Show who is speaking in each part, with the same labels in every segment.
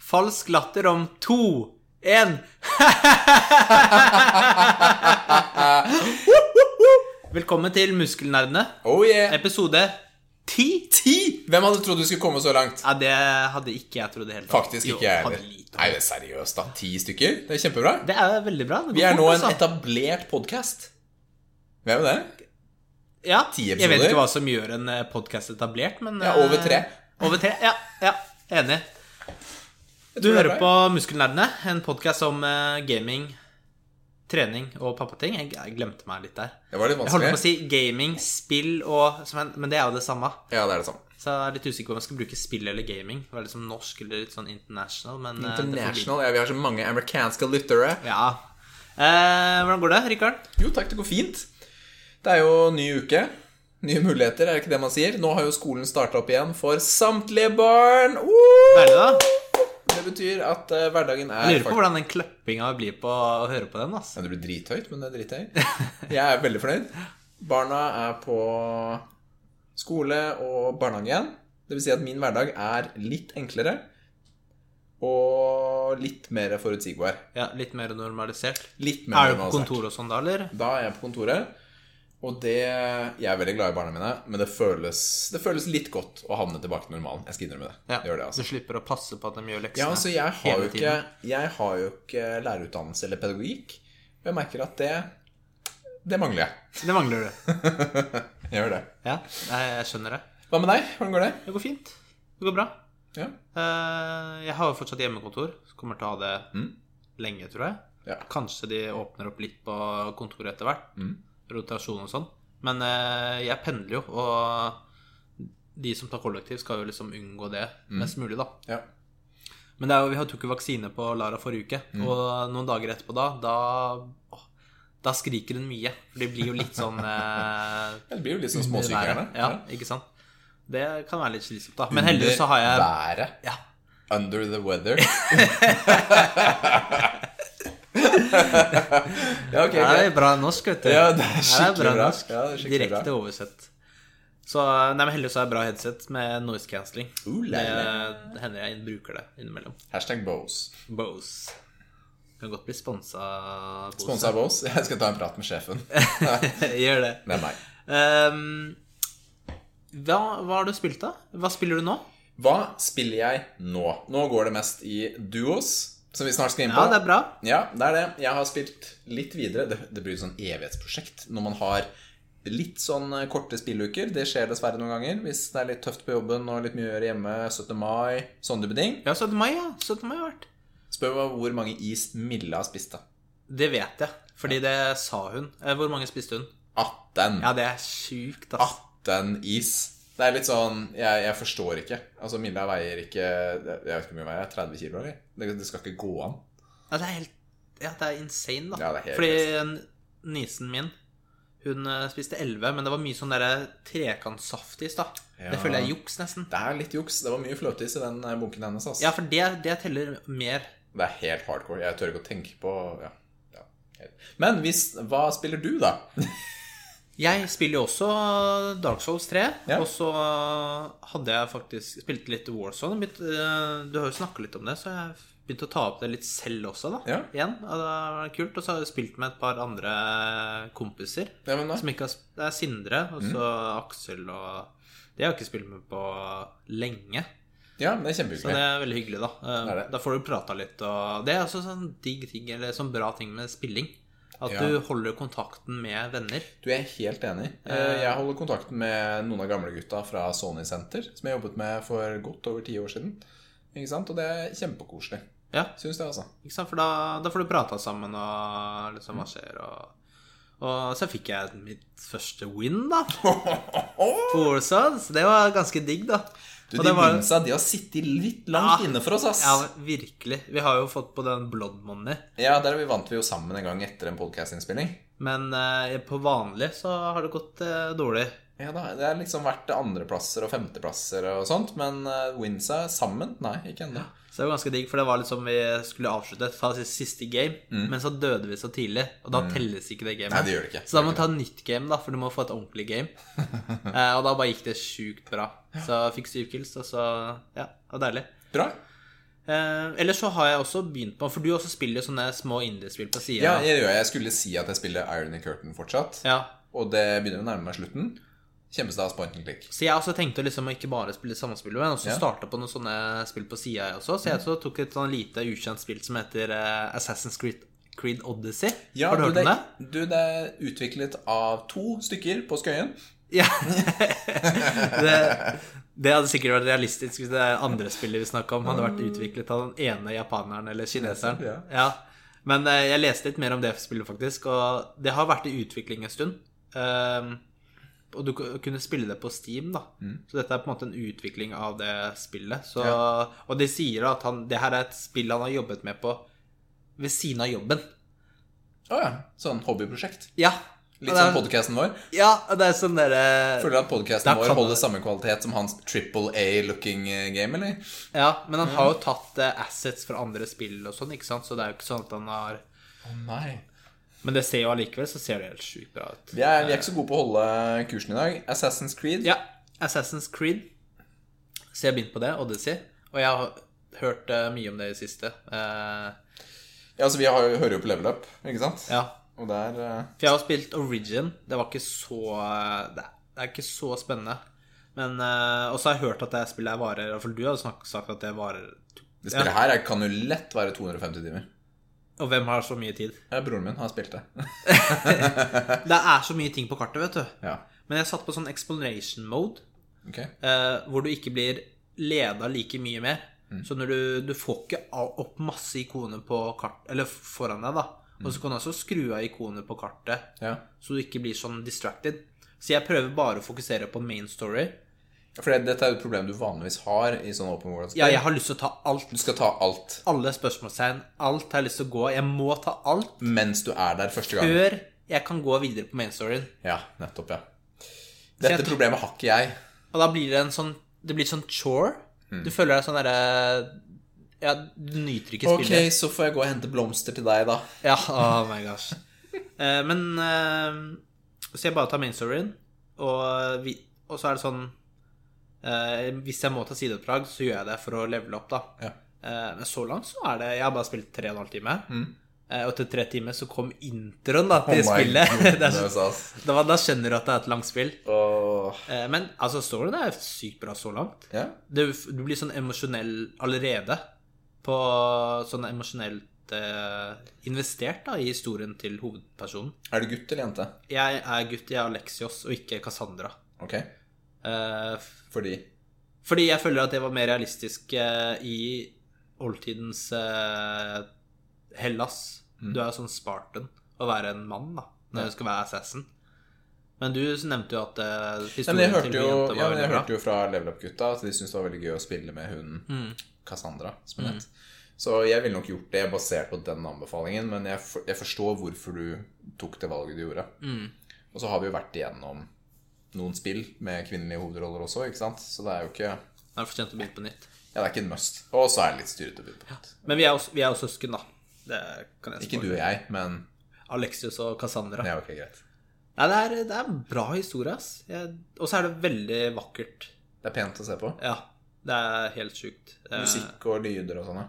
Speaker 1: falsk latter om to, én Velkommen til Muskelnerdene,
Speaker 2: Oh yeah!
Speaker 1: episode ti.
Speaker 2: Ti! Hvem hadde trodd du skulle komme så langt?
Speaker 1: Ja, det hadde ikke jeg trodd i det hele tatt.
Speaker 2: Faktisk
Speaker 1: Ah, Jo,
Speaker 2: ikke jeg
Speaker 1: hadde
Speaker 2: heller.
Speaker 1: lite.
Speaker 2: Nei, men seriøst, da. Ti stykker? Det er kjempebra.
Speaker 1: Det er altså. veldig bra.
Speaker 2: Vi er nå en etablert podkast. Hvem er det?
Speaker 1: ja,
Speaker 2: ti
Speaker 1: Jeg vet
Speaker 2: episoder.
Speaker 1: ikke hva som gjør en podkast etablert, men
Speaker 2: Ja, over tre.
Speaker 1: eh, Over tre, ja, ja, Enig. Du
Speaker 2: tror det er
Speaker 1: hører på Muskelnerdene, en podkast om eh, gaming, trening og pappating. Jeg, jeg glemte meg litt der.
Speaker 2: Det var litt
Speaker 1: Jeg holdt på å
Speaker 2: vanskelig.
Speaker 1: si gaming, spill og som en- Men det er jo det samme.
Speaker 2: Ja, det er det samme.
Speaker 1: Så jeg er litt usikker på om jeg skal bruke spill eller gaming. Være litt sånn norsk eller litt sånn international, men eh, det får bli-
Speaker 2: International. Ja, vi har så mange amerikanske lyttere.
Speaker 1: Ja. Eh, hvordan går det, Rikard?
Speaker 2: Jo takk, det går fint. Det er jo ny uke. Nye muligheter, er det ikke det man sier? Nå har jo skolen starta opp igjen for samtlige barn.
Speaker 1: Hva
Speaker 2: Uh!
Speaker 1: er det, da?
Speaker 2: Det betyr at eh, hverdagen er
Speaker 1: Jeg lurer på hvordan den kløppinga blir på å høre på den. Altså.
Speaker 2: Ja, det blir drithøyt, men det er drithøy. Jeg er veldig fornøyd. Barna er på skole og barnehage igjen. Det vil si at min hverdag er litt enklere og litt mer forutsigbar.
Speaker 1: Ja, litt mer normalisert.
Speaker 2: Litt mer
Speaker 1: Er du på
Speaker 2: normalisert.
Speaker 1: kontor og sånn da, eller?
Speaker 2: Da er jeg på kontoret, og det Jeg er veldig glad i barna mine, men det føles, det føles litt godt å havne tilbake til normalen. Jeg skal innrømme det.
Speaker 1: Ja.
Speaker 2: Det gjør det,
Speaker 1: Du
Speaker 2: altså.
Speaker 1: slipper å passe på at de gjør leksene
Speaker 2: Ja, altså, jeg har,
Speaker 1: hele
Speaker 2: jo ikke, jeg har jo ikke lærerutdannelse eller pedagogikk, og jeg merker at det Det mangler jeg.
Speaker 1: Det mangler du.
Speaker 2: Jeg gjør det.
Speaker 1: Ja, nei, jeg skjønner det.
Speaker 2: Hva med deg? Hvordan går det?
Speaker 1: Det går fint. Det går bra.
Speaker 2: Ja.
Speaker 1: Eh, jeg har jo fortsatt hjemmekontor. så Kommer til å ha det
Speaker 2: Mm.
Speaker 1: lenge, tror jeg.
Speaker 2: Ja.
Speaker 1: Kanskje de åpner opp litt på kontoret etter hvert.
Speaker 2: Mm.
Speaker 1: Rotasjon og sånn. Men eh, jeg pendler jo, og de som tar kollektiv, skal jo liksom unngå det
Speaker 2: Mm.
Speaker 1: mest mulig, da.
Speaker 2: ja.
Speaker 1: Men det er jo, vi tok jo vaksine på Lara forrige uke,
Speaker 2: Mm.
Speaker 1: og noen dager etterpå da, da åh, da skriker hun mye. For de blir jo litt sånn eh,
Speaker 2: Det blir jo litt sånn småsykerne.
Speaker 1: Ja, ikke sant? Det kan være litt slitsomt, da. Men heldigvis så har jeg
Speaker 2: Været.
Speaker 1: ja,
Speaker 2: Under the weather. ja, ok.
Speaker 1: Det
Speaker 2: okay.
Speaker 1: er bra norsk, vet du.
Speaker 2: Ja, det er skikkelig
Speaker 1: bra.
Speaker 2: bra.
Speaker 1: norsk.
Speaker 2: Ja, det er skikkelig
Speaker 1: Direkte
Speaker 2: bra.
Speaker 1: oversett. Så nei, men Heldigvis har jeg bra headset med noise cancelling.
Speaker 2: Uh, la,
Speaker 1: Det
Speaker 2: la.
Speaker 1: hender jeg bruker det innimellom.
Speaker 2: Hashtag Bose.
Speaker 1: Bose. Kan godt bli sponsa. Bose.
Speaker 2: Sponsa av Bose. Jeg skal ta en prat med sjefen.
Speaker 1: Gjør det.
Speaker 2: Det er meg.
Speaker 1: Ehm, hva, hva har du spilt, da? Hva spiller du nå?
Speaker 2: Hva spiller jeg nå? Nå går det mest i duos, som vi snart skal inn på.
Speaker 1: Ja, det er bra.
Speaker 2: Ja, det er det. Jeg har spilt litt videre. Det, det blir jo sånn evighetsprosjekt når man har litt sånn eh, korte spilluker. Det skjer dessverre noen ganger hvis det er litt tøft på jobben og litt mye å gjøre hjemme. 17. mai, sånne type ting.
Speaker 1: Ja, 17. mai, ja. 17. mai har vært.
Speaker 2: Spør meg hvor mange is Milla spiste.
Speaker 1: Det vet jeg, fordi det sa hun. Eh, Hvor mange spiste hun?
Speaker 2: 18.
Speaker 1: Ja, det er sjukt,
Speaker 2: Ah,
Speaker 1: ass.
Speaker 2: 18 is. Det er litt sånn Jeg, jeg forstår ikke. Altså, Milla veier ikke Jeg vet ikke hvor mye hun veier. 30 kilo, eller? Det, det skal ikke gå an.
Speaker 1: Ja, det er helt Ja, det er insane, da.
Speaker 2: Ja, det er helt
Speaker 1: Fordi n- nisen min hun eh, spiste 11, men det var mye sånn derre trekantsaftis, da.
Speaker 2: Ja.
Speaker 1: Det føler jeg er juks, nesten.
Speaker 2: Det er litt juks. Det var mye fløteis i den eh, bunken hennes. ass.
Speaker 1: Ja, for det, det teller mer.
Speaker 2: Det er helt hardcore. Jeg tør ikke å tenke på ja. Ja. Men hvis, hva spiller du, da?
Speaker 1: Jeg spiller jo også Dark Souls 3,
Speaker 2: Ja.
Speaker 1: og så hadde jeg faktisk spilt litt Warzone. Begynt, eh, du har jo snakka litt om det, så jeg begynte å ta opp det litt selv også, da.
Speaker 2: Ja.
Speaker 1: Igjen. Og det var kult. Og så har jeg spilt med et par andre kompiser.
Speaker 2: Ja, Mm. men da-
Speaker 1: Som ikke har sp- Det er Sindre og så Aksel og De har jeg ikke spilt med på lenge.
Speaker 2: ja men det er
Speaker 1: Så det
Speaker 2: kjempehyggelig.
Speaker 1: er veldig hyggelig, da. Eh,
Speaker 2: Det er det.
Speaker 1: Da får du prata litt, og Det er også sånn digg ting, eller sånn bra ting med spilling. At
Speaker 2: Ja.
Speaker 1: du holder kontakten med venner.
Speaker 2: Du jeg er helt enig. Eh, Jeg holder kontakten med noen av gamlegutta fra Sony Center, som jeg jobbet med for godt over ti år siden. Ikke sant? Og det er kjempekoselig.
Speaker 1: Ja,
Speaker 2: Syns det, altså.
Speaker 1: ikke sant? For da, da får du prata sammen, og liksom
Speaker 2: Mm.
Speaker 1: hva skjer, og Og så fikk jeg mitt første win, da. På Warzone, så det var ganske digg, da.
Speaker 2: Du,
Speaker 1: Og
Speaker 2: de
Speaker 1: det var-
Speaker 2: Winsa, de har sittet litt langt
Speaker 1: Ja.
Speaker 2: inne for oss, ass.
Speaker 1: Ja, virkelig. Vi har jo fått på den Blood Money.
Speaker 2: Ja, der vi vant vi jo sammen en gang etter en podcastinnspilling
Speaker 1: Men eh, på vanlig så har det gått eh, dårlig.
Speaker 2: Ja da, Det har liksom vært andreplasser og femteplasser og sånt, men eh, Winsa sammen? Nei, ikke ennå.
Speaker 1: Så det var ganske digg, for det var liksom vi skulle avslutte fra siste- siste game, men så døde vi så tidlig, og da telles ikke det gamet.
Speaker 2: Mm. Nei, det gjør det ikke.
Speaker 1: Så da må du ta nytt game, da, for du må få et ordentlig game. eh, og da bare gikk det sjukt bra. Så jeg fikk syv kills, og så Ja, det var deilig.
Speaker 2: Bra.
Speaker 1: Eh, Eller så har jeg også begynt på For du også spiller jo sånne små indiespill på sida.
Speaker 2: Ja, jeg gjør jeg. Jeg skulle si at jeg spiller Irony Curtain fortsatt.
Speaker 1: ja.
Speaker 2: Og det begynner å nærme meg slutten. Kjempestas point and click.
Speaker 1: Så jeg også tenkte liksom å ikke bare spille samme spill, men også
Speaker 2: Ja. Mhm.
Speaker 1: starte på noen sånne spill på sida, jeg også. Så jeg også tok et sånn lite ukjent spill som heter eh, Assassin's Creed, Creed Odyssey.
Speaker 2: Ja,
Speaker 1: har du hørt
Speaker 2: det,
Speaker 1: om det?
Speaker 2: Du, det er utviklet av to stykker på Skøyen.
Speaker 1: Ja. det, det hadde sikkert vært realistisk hvis det er andre spillet vi snakka om, hadde vært utviklet av den ene japaneren eller kineseren.
Speaker 2: Ja.
Speaker 1: Men eh, jeg leste litt mer om det spillet, faktisk, og det har vært i utvikling en stund. Ehm, og du ku- kunne spille det på Steam, da.
Speaker 2: Mm.
Speaker 1: Så dette er på en måte en utvikling av det spillet. Så, Og de sier da at han, det her er et spill han har jobbet med på ved siden av jobben.
Speaker 2: Å ja. Sånn hobbyprosjekt.
Speaker 1: Ja.
Speaker 2: Litt
Speaker 1: Og det er-
Speaker 2: som podkasten vår.
Speaker 1: Ja, og det er sånn derre
Speaker 2: Føler du
Speaker 1: Da
Speaker 2: at podkasten
Speaker 1: kan
Speaker 2: vår
Speaker 1: man-
Speaker 2: holder samme kvalitet som hans triple A-looking game, eller?
Speaker 1: Ja, men han har jo tatt eh, assets fra andre spill og sånn, ikke sant? Så det er jo ikke sånn at han har
Speaker 2: Å nei.
Speaker 1: Men det ser jo allikevel så ser det helt sjukt bra ut.
Speaker 2: Vi er, vi er ikke så gode på å holde eh, kursen i dag. Assassin's Creed.
Speaker 1: Ja, Assassin's Creed. Så jeg har begynt på det, Odyssey. Og jeg har hørt eh, mye om det i det siste. Eh,
Speaker 2: altså Vi har, jo- hører jo på level up, ikke sant?
Speaker 1: ja.
Speaker 2: Og der eh,
Speaker 1: For jeg har spilt Origin. Det var ikke så eh, Det er- det er ikke så spennende. Men eh, Og så har jeg hørt at det spillet her varer Iallfall du hadde snak- sagt at det varer
Speaker 2: Det spillet her er- kan jo lett være 250 timer.
Speaker 1: Og hvem har så mye tid?
Speaker 2: Ja, broren min har spilt det.
Speaker 1: Det er så mye ting på kartet, vet du.
Speaker 2: ja,
Speaker 1: Men jeg satt på sånn explanation mode.
Speaker 2: ok
Speaker 1: eh, hvor du ikke blir leda like mye mer. Så når du, du får ikke all- opp masse ikoner på kart, eller foran deg, da. Og så kan du også skru av ikoner på kartet,
Speaker 2: ja.
Speaker 1: så du ikke blir sånn distracted. Så jeg prøver bare å fokusere på main story.
Speaker 2: For det- dette er jo et problem du vanligvis har i sånne open world.
Speaker 1: Ja, jeg har lyst til å ta alt.
Speaker 2: Du skal ta alt
Speaker 1: Alle spørsmålstegn. Alt har jeg lyst til å gå. Jeg må ta alt
Speaker 2: mens du er der første gang.
Speaker 1: før jeg kan gå videre på main storyen.
Speaker 2: Ja, nettopp, ja.
Speaker 1: Så
Speaker 2: Dette
Speaker 1: jeg-
Speaker 2: problemet har ikke jeg.
Speaker 1: Og da blir det en sånn Det blir sånn chore. Du føler deg sånn derre Ja, du nyter ikke spillet.
Speaker 2: Ok, så får jeg gå og hente blomster til deg, da.
Speaker 1: Ja, oh my gosh. Eh, men eh, Så jeg bare tar main storyen, og, vi, og så er det sånn eh, Hvis jeg må ta sideoppdrag, så gjør jeg det for å levele opp, da.
Speaker 2: Ja.
Speaker 1: Eh, men så langt så er det Jeg har bare spilt tre og en halv time.
Speaker 2: Mm.
Speaker 1: Eh, og til tre timer så kom introen da til spillet. det er, så-
Speaker 2: Oh ass.
Speaker 1: da, var- da skjønner du at det er et langt spill.
Speaker 2: Åh.
Speaker 1: Eh, men altså, storyen er sykt bra så langt.
Speaker 2: Ja.
Speaker 1: Du, du blir sånn emosjonell allerede. På sånn emosjonelt eh, investert da, i historien til hovedpersonen.
Speaker 2: Er du gutt eller jente?
Speaker 1: Jeg er gutt, jeg er Alexios, og ikke Cassandra.
Speaker 2: Ok,
Speaker 1: Eh, f-
Speaker 2: fordi
Speaker 1: fordi jeg føler at det var mer realistisk eh, i oldtidens eh, Hellas.
Speaker 2: Mm.
Speaker 1: Du er jo sånn Spartan å være en mann da, når du skal være assassin. Men du nevnte jo at eh,
Speaker 2: Nei, men jeg
Speaker 1: historien til
Speaker 2: hørte, jo,
Speaker 1: jenta var
Speaker 2: ja, men jeg
Speaker 1: veldig bra.
Speaker 2: hørte jo fra Level Up-gutta at de syntes det var veldig gøy å spille med hunden
Speaker 1: Mm.
Speaker 2: Cassandra. som hun het. Så jeg ville nok gjort det basert på den anbefalingen, men jeg, for, jeg forstår hvorfor du tok det valget du gjorde.
Speaker 1: Mm.
Speaker 2: Og så har vi jo vært igjennom noen spill med kvinnelige hovedroller også, ikke sant? Så det er jo ikke Ja,
Speaker 1: Da er det for sent å begynne på nytt.
Speaker 2: det er ikke en must. Og så er det litt styrete. budpunkt.
Speaker 1: Men vi er jo, vi er jo søsken, da. Det kan jeg
Speaker 2: Ikke
Speaker 1: spoile.
Speaker 2: du og jeg, men
Speaker 1: Alexius og Cassandra.
Speaker 2: Ja, ok, greit.
Speaker 1: Nei, det er, det er en bra historie, ass. Jeg- Og så er det veldig vakkert.
Speaker 2: Det er pent å se på.
Speaker 1: Ja. Det er helt sjukt. Eh,
Speaker 2: Musikk og lyder og sånn, ja.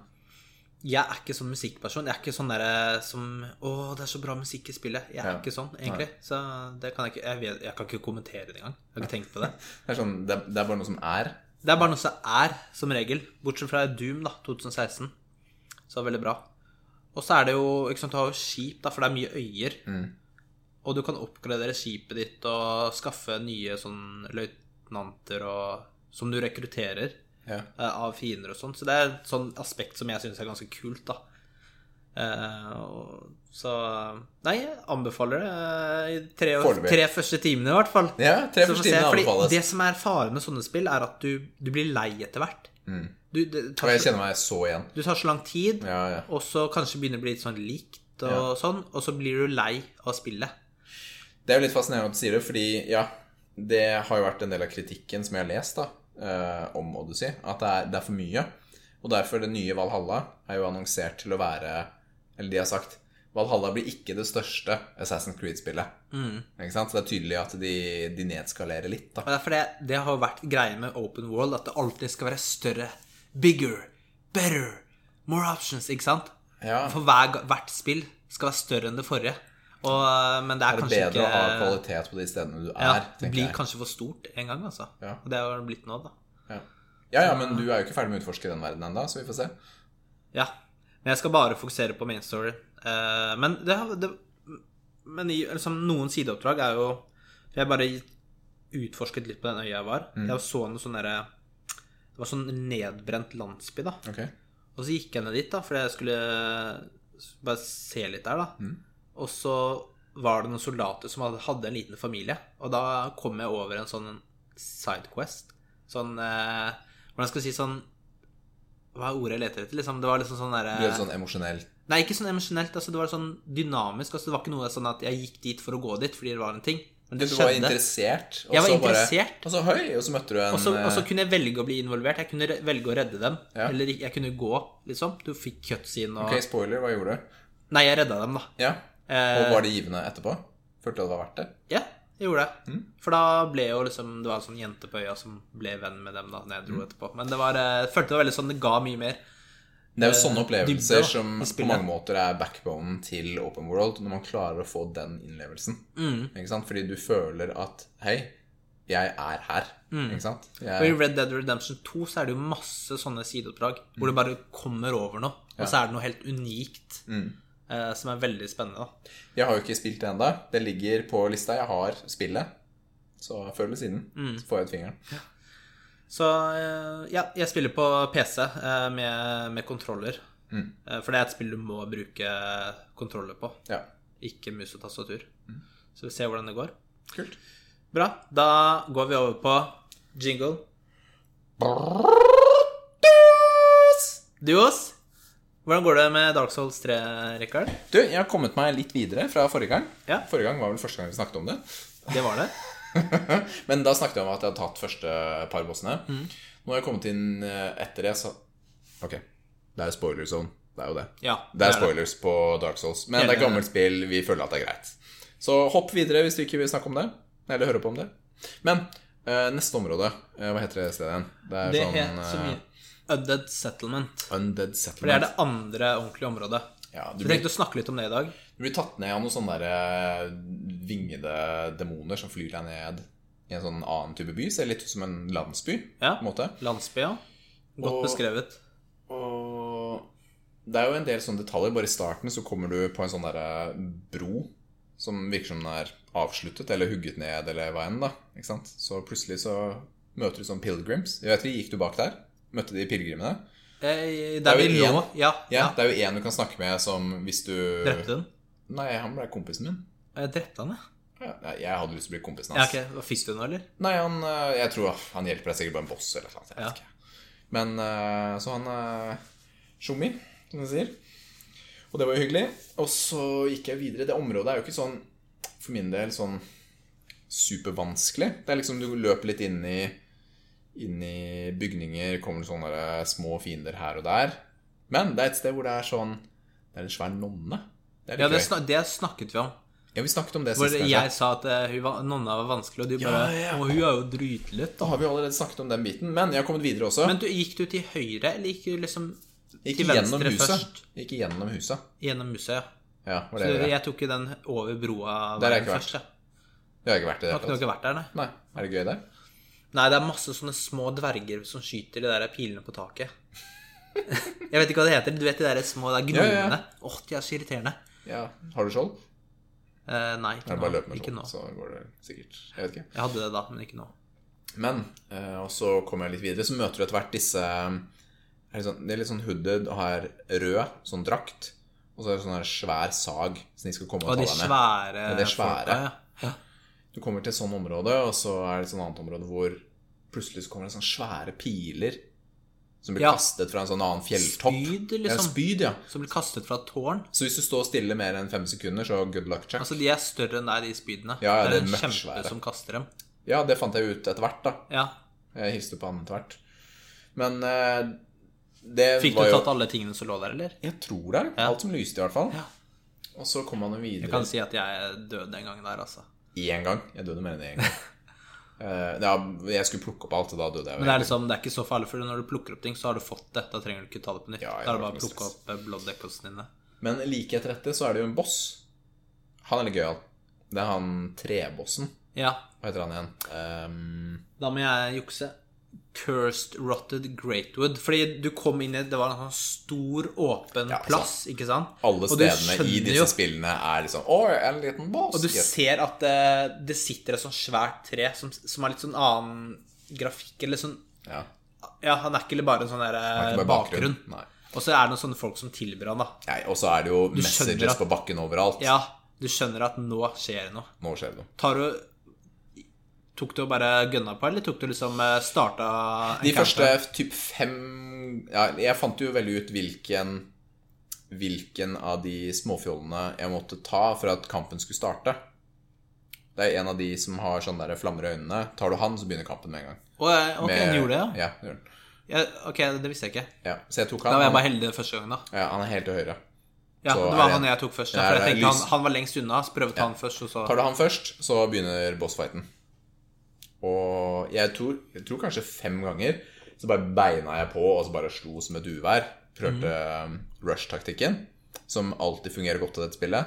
Speaker 1: Jeg er ikke sånn musikkperson. Jeg er ikke sånn derre som Å, det er så bra musikk i spillet. Jeg er
Speaker 2: Ja.
Speaker 1: ikke sånn, egentlig. Så det kan jeg ikke Jeg, vet, jeg kan ikke kommentere det engang. Jeg har ikke tenkt på det.
Speaker 2: Det er, sånn, det, er- det er bare noe som er.
Speaker 1: Det er bare noe som er, som regel. Bortsett fra Doom, da, 2016. Så det er veldig bra. Og så er det jo ikke sant, Du har jo skip, da, for det er mye øyer.
Speaker 2: Mm.
Speaker 1: Og du kan oppgradere skipet ditt og skaffe nye sånn løytnanter og Som du rekrutterer
Speaker 2: Ja.
Speaker 1: eh, av fiender og sånn. Så det er et sånn aspekt som jeg syns er ganske kult, da. Eh, og- så Nei, jeg anbefaler det eh, i tre,
Speaker 2: Foreløpig.
Speaker 1: tre første timene, i hvert fall.
Speaker 2: ja tre
Speaker 1: Så får
Speaker 2: første
Speaker 1: vi se,
Speaker 2: timene
Speaker 1: fordi
Speaker 2: anbefales.
Speaker 1: Det som er faren med sånne spill, er at du, du blir lei etter hvert.
Speaker 2: Mm.
Speaker 1: Du, det
Speaker 2: Og
Speaker 1: tar,
Speaker 2: jeg
Speaker 1: så-
Speaker 2: kjenner meg så igjen.
Speaker 1: du tar så lang tid,
Speaker 2: Ja, ja.
Speaker 1: og så kanskje begynner det å bli litt sånn likt, og sånn, og så blir du lei av spillet.
Speaker 2: Det er jo litt fascinerende at du sier det, fordi ja, det har jo vært en del av kritikken som jeg har lest da, eh, om Odyssey, at det er, det er for mye. Og derfor det nye Valhalla er jo annonsert til å være, eller de har sagt, Valhalla blir ikke det største Assassin's Creed-spillet.
Speaker 1: Mm.
Speaker 2: Ikke sant? Så det er tydelig at de, de nedskalerer litt da.
Speaker 1: Og derfor det, det har vært greia med Open World, at det alltid skal være større, bigger, better, More options, ikke sant?
Speaker 2: Ja.
Speaker 1: For hver, ga- hvert spill skal være større enn det forrige. Og, eh, men det er,
Speaker 2: Er det
Speaker 1: kanskje
Speaker 2: bedre
Speaker 1: ikke
Speaker 2: å ha kvalitet på de stedene du er?
Speaker 1: ja, Det
Speaker 2: tenker
Speaker 1: blir
Speaker 2: jeg.
Speaker 1: kanskje for stort en gang, altså.
Speaker 2: Ja.
Speaker 1: Og det har det blitt nå, da.
Speaker 2: Ja. ja, ja, men du er jo ikke ferdig med å utforske den verdenen ennå, så vi får se.
Speaker 1: Ja. Men jeg skal bare fokusere på main story. Eh, men det, har- det Men i, liksom, noen sideoppdrag er jo for Jeg bare utforsket litt på den øya jeg var. Jeg så en sånn derre Det var sånn nedbrent landsby, da.
Speaker 2: Ok.
Speaker 1: Og så gikk jeg ned dit, da, fordi jeg skulle bare se litt der, da.
Speaker 2: Mm.
Speaker 1: Og så var det noen soldater som hadde- hadde en liten familie. Og da kom jeg over en sånn sidequest. Sånn eh, Hvordan skal jeg si sånn Hva er ordet jeg leter etter? Liksom, det var liksom sånn
Speaker 2: Du er
Speaker 1: derre
Speaker 2: sånn emosjonell.
Speaker 1: Nei, ikke sånn emosjonelt. Altså, det var sånn dynamisk. Altså, det var ikke noe sånn at jeg gikk dit for å gå dit fordi det var en ting. Men
Speaker 2: Du
Speaker 1: det
Speaker 2: var
Speaker 1: skjedde.
Speaker 2: interessert. og
Speaker 1: Jeg var
Speaker 2: så bare-
Speaker 1: interessert.
Speaker 2: Og så høy, og så møtte du en
Speaker 1: Og så, og så
Speaker 2: eh,
Speaker 1: kunne jeg velge å bli involvert. Jeg kunne re- velge å redde dem.
Speaker 2: Ja.
Speaker 1: Eller ikke- jeg kunne gå, liksom. Du fikk cutscene og
Speaker 2: Ok, spoiler, hva gjorde du?
Speaker 1: Nei, jeg redda dem, da.
Speaker 2: Ja.
Speaker 1: Eh,
Speaker 2: Og var det givende etterpå? Følte du at det var verdt det?
Speaker 1: Ja, jeg gjorde det. For da ble jo liksom Det var en sånn jente på øya som ble venn med dem da når jeg dro etterpå. Men det var, eh, jeg følte det var veldig sånn Det ga mye mer.
Speaker 2: Det er jo sånne
Speaker 1: dybde,
Speaker 2: opplevelser
Speaker 1: da,
Speaker 2: som
Speaker 1: i
Speaker 2: på
Speaker 1: spillet.
Speaker 2: mange måter er backbonen til open world, når man klarer å få den innlevelsen. Ikke sant? Fordi du føler at Hei, jeg er her. Ikke sant?
Speaker 1: Mm. Og I
Speaker 2: Jeg,
Speaker 1: Red Dead Redemption 2 så er det jo masse sånne sideoppdrag hvor du bare kommer over noe, og så er det noe helt unikt eh, som er veldig spennende. da
Speaker 2: mm. jeg har jo ikke spilt det ennå. Det ligger på lista. Jeg har spillet. Så før eller siden
Speaker 1: Mm.
Speaker 2: så får jeg ut fingeren.
Speaker 1: Så eh, ja, jeg spiller på PC eh, med, med kontroller.
Speaker 2: Mm.
Speaker 1: Eh, For det er et spill du må bruke kontroller på,
Speaker 2: Ja.
Speaker 1: ikke mus og tastatur. Så vi ser hvordan det går.
Speaker 2: Kult.
Speaker 1: Bra. Da går vi over på jingle. Duos, hvordan går det med Dark Souls 3, Rikard?
Speaker 2: Du, jeg har kommet meg litt videre fra forrige gang.
Speaker 1: Ja.
Speaker 2: Forrige gang var vel første gang vi snakket om det.
Speaker 1: Det var det.
Speaker 2: Men da snakket jeg om at jeg hadde tatt første par bossene.
Speaker 1: Mm.
Speaker 2: Nå har jeg kommet inn eh, etter det, så Ok, det er jo spoiler zone. Det er jo det.
Speaker 1: Ja,
Speaker 2: det er spoilers på Dark Souls. Men
Speaker 1: Hele-
Speaker 2: det er gammelt spill. Vi føler at det er greit. Så hopp videre hvis du ikke vil snakke om det. Eller høre på om det. Men eh, neste område, eh, hva heter det stedet igjen? Det er
Speaker 1: Det
Speaker 2: sånn
Speaker 1: het så
Speaker 2: eh,
Speaker 1: mye Undead Settlement.
Speaker 2: Undead
Speaker 1: For det er
Speaker 2: Settlement.
Speaker 1: det andre ordentlige området. Så
Speaker 2: Ja, du
Speaker 1: jeg
Speaker 2: blir,
Speaker 1: tenkte å snakke litt om det i dag.
Speaker 2: du blir tatt ned av noen sånne der, eh, vingede demoner som flyr deg ned i en sånn annen type by. Ser litt ut som en landsby,
Speaker 1: Ja.
Speaker 2: på en måte.
Speaker 1: Landsbya. Godt
Speaker 2: Og-
Speaker 1: beskrevet.
Speaker 2: Og det er jo en del sånne detaljer. Bare i starten så kommer du på en sånn derre bro som virker som den er avsluttet eller hugget ned eller hva enn, da. Ikke sant? Så plutselig så møter du sånn pilegrims. Jeg vet ikke, Gikk du bak der? Møtte de pilegrimene?
Speaker 1: Eh,
Speaker 2: er
Speaker 1: Der vi
Speaker 2: jo
Speaker 1: lå
Speaker 2: en-
Speaker 1: Ja.
Speaker 2: Ja,
Speaker 1: ja.
Speaker 2: Det er jo en du kan snakke med som hvis du
Speaker 1: Drepte hun?
Speaker 2: Nei, han ble kompisen min.
Speaker 1: Jeg drepte han, jeg.
Speaker 2: Ja, nei, jeg hadde lyst til å bli kompisen
Speaker 1: Ja,
Speaker 2: hans.
Speaker 1: ok. Hva Fikk du noe, eller?
Speaker 2: Nei, han eh, Jeg tror ah, han hjelper deg sikkert på en boss eller noe. Jeg
Speaker 1: Ja.
Speaker 2: vet ikke. Men eh, Så han eh, Tjommi, som de sier. Og det var jo hyggelig. Og så gikk jeg videre. Det området er jo ikke sånn for min del sånn supervanskelig. Det er liksom du løper litt inn i Inn i bygninger, kommer det sånne der eh, små fiender her og der. Men det er et sted hvor det er sånn Det er en svær nonne. Det er litt
Speaker 1: Ja, det,
Speaker 2: gøy.
Speaker 1: snak det snakket vi om.
Speaker 2: ja, vi snakket om det
Speaker 1: Hvor
Speaker 2: sist, kanskje.
Speaker 1: jeg sa at eh, hun var, nonna var vanskelig, og du bare
Speaker 2: ja.
Speaker 1: Og hun er jo drytløtt,
Speaker 2: Da
Speaker 1: da.
Speaker 2: har vi allerede snakket om den biten, men jeg har kommet videre også.
Speaker 1: Men du, gikk du til høyre, eller gikk du liksom
Speaker 2: Ikke
Speaker 1: til
Speaker 2: gjennom
Speaker 1: venstre
Speaker 2: huset.
Speaker 1: først?
Speaker 2: Ikke gjennom huset.
Speaker 1: Gjennom museet, ja.
Speaker 2: Ja, var
Speaker 1: Så
Speaker 2: det det?
Speaker 1: jeg tok jo den over broa
Speaker 2: Der har
Speaker 1: veien
Speaker 2: jeg ikke vært.
Speaker 1: først, jeg.
Speaker 2: Det har ikke vært det.
Speaker 1: Har ikke
Speaker 2: det.
Speaker 1: dere vært der, nei?
Speaker 2: Nei, Er det gøy der?
Speaker 1: Nei, det er masse sånne små dverger som skyter de der pilene på taket. Jeg vet ikke hva det heter. Du vet de der små der
Speaker 2: Ja,
Speaker 1: gnomene?
Speaker 2: ja, ja.
Speaker 1: Åh, de er så irriterende.
Speaker 2: Ja. Har du skjold?
Speaker 1: Eh, nei,
Speaker 2: Ja,
Speaker 1: ikke
Speaker 2: bare
Speaker 1: nå.
Speaker 2: løp med altså.
Speaker 1: Ikke nå.
Speaker 2: skjold, så går det sikkert. Jeg vet ikke.
Speaker 1: Jeg hadde det da, men ikke nå.
Speaker 2: Men, eh, og så kommer jeg litt videre, så møter du etter hvert disse er det, sånn, det er litt sånn hooded og har rød sånn drakt. Og så er det sånn her svær sag som de skal komme og,
Speaker 1: Og de
Speaker 2: ta deg med.
Speaker 1: svære
Speaker 2: Ja, de er svære.
Speaker 1: folka, ja. ja.
Speaker 2: Du kommer til et sånt område, og så er det et sånt annet område hvor plutselig så kommer det sånne svære piler som blir
Speaker 1: Ja.
Speaker 2: kastet fra en sånn annen fjelltopp.
Speaker 1: Spyd,
Speaker 2: Ja,
Speaker 1: liksom.
Speaker 2: spyd, ja.
Speaker 1: Som blir kastet fra et tårn.
Speaker 2: Så hvis du står stille mer enn fem sekunder, så good luck, Jack.
Speaker 1: Altså, de er større enn deg, de spydene.
Speaker 2: Ja, ja,
Speaker 1: det
Speaker 2: de
Speaker 1: er
Speaker 2: er
Speaker 1: en kjempe
Speaker 2: mørksvære.
Speaker 1: som kaster dem.
Speaker 2: Ja, det fant jeg ut etter hvert, da.
Speaker 1: Ja.
Speaker 2: Jeg hilste på han etter hvert. Men eh, det
Speaker 1: Fikk du
Speaker 2: var jo
Speaker 1: tatt alle tingene som lå der, eller?
Speaker 2: Jeg tror det. Alt som lyste, i hvert fall.
Speaker 1: Ja.
Speaker 2: Og så kom han jo
Speaker 1: Jeg
Speaker 2: videre
Speaker 1: kan si at jeg døde den gangen der, altså.
Speaker 2: én gang. Jeg døde mer enn én gang. Eh, ja, jeg skulle plukke opp alt, og da døde jeg.
Speaker 1: Men det er, liksom, det er ikke så farlig, for når du plukker opp ting, så har du fått det. Da trenger du ikke ta det på nytt.
Speaker 2: Ja, jeg
Speaker 1: da er det
Speaker 2: har
Speaker 1: bare å
Speaker 2: ikke
Speaker 1: plukke
Speaker 2: stress.
Speaker 1: opp eh, blood decosene dine.
Speaker 2: Men like etter dette så er det jo en boss. Han er litt gøyal. Det er han trebossen.
Speaker 1: Ja,
Speaker 2: Hva heter han igjen? Ehm,
Speaker 1: da må jeg jukse. Cursed Rotted Greatwood. Fordi du kom inn i Det var en sånn stor, åpen
Speaker 2: Ja,
Speaker 1: plass, ikke sant?
Speaker 2: alle
Speaker 1: Og du
Speaker 2: stedene i
Speaker 1: skjønner
Speaker 2: disse
Speaker 1: jo-
Speaker 2: spillene er liksom Å, en liten boss.
Speaker 1: Og du
Speaker 2: Yes.
Speaker 1: ser at det, det sitter et sånt svært tre som, som har litt sånn annen grafikk, eller sånn
Speaker 2: ja.
Speaker 1: Ja, han er ikke bare en sånn der
Speaker 2: det er
Speaker 1: eh,
Speaker 2: ikke bare
Speaker 1: bakgrunn.
Speaker 2: bakgrunn. Nei.
Speaker 1: Og så er det noen sånne folk som tilbyr han, da.
Speaker 2: Nei, og så er det jo
Speaker 1: skjønner
Speaker 2: messages
Speaker 1: at-
Speaker 2: på bakken overalt.
Speaker 1: Ja, du skjønner at nå skjer det noe.
Speaker 2: Nå skjer det noe.
Speaker 1: Tar du Tok du og bare gønna på, eller tok du liksom eh, starta
Speaker 2: De første typ fem ja, Jeg fant jo veldig ut hvilken Hvilken av de småfjollene jeg måtte ta for at kampen skulle starte. Det er en av de som har sånne der flammer i øynene. Tar du han, så begynner kampen med en gang.
Speaker 1: Å, eh, Ok,
Speaker 2: Med-
Speaker 1: han gjorde det, ja.
Speaker 2: Ja, det gjorde han.
Speaker 1: ja? Ok, det visste jeg ikke.
Speaker 2: ja. Så jeg tok
Speaker 1: Da
Speaker 2: han.
Speaker 1: var jeg
Speaker 2: Han,
Speaker 1: bare heldig første gangen, da.
Speaker 2: ja, han er helt til høyre.
Speaker 1: Ja,
Speaker 2: Så
Speaker 1: Det
Speaker 2: er
Speaker 1: var
Speaker 2: det-
Speaker 1: han jeg tok først. Ja,
Speaker 2: Ja,
Speaker 1: for jeg
Speaker 2: det er
Speaker 1: tenkte han,
Speaker 2: lys-
Speaker 1: han var lengst unna, så prøvde jeg å ta han først, og så
Speaker 2: Tar du han først, så begynner bossfighten. Og jeg tror, jeg tror kanskje fem ganger så bare beina jeg på og så bare slo som et uvær. Prøvde eh, rush-taktikken, som alltid fungerer godt i dette spillet.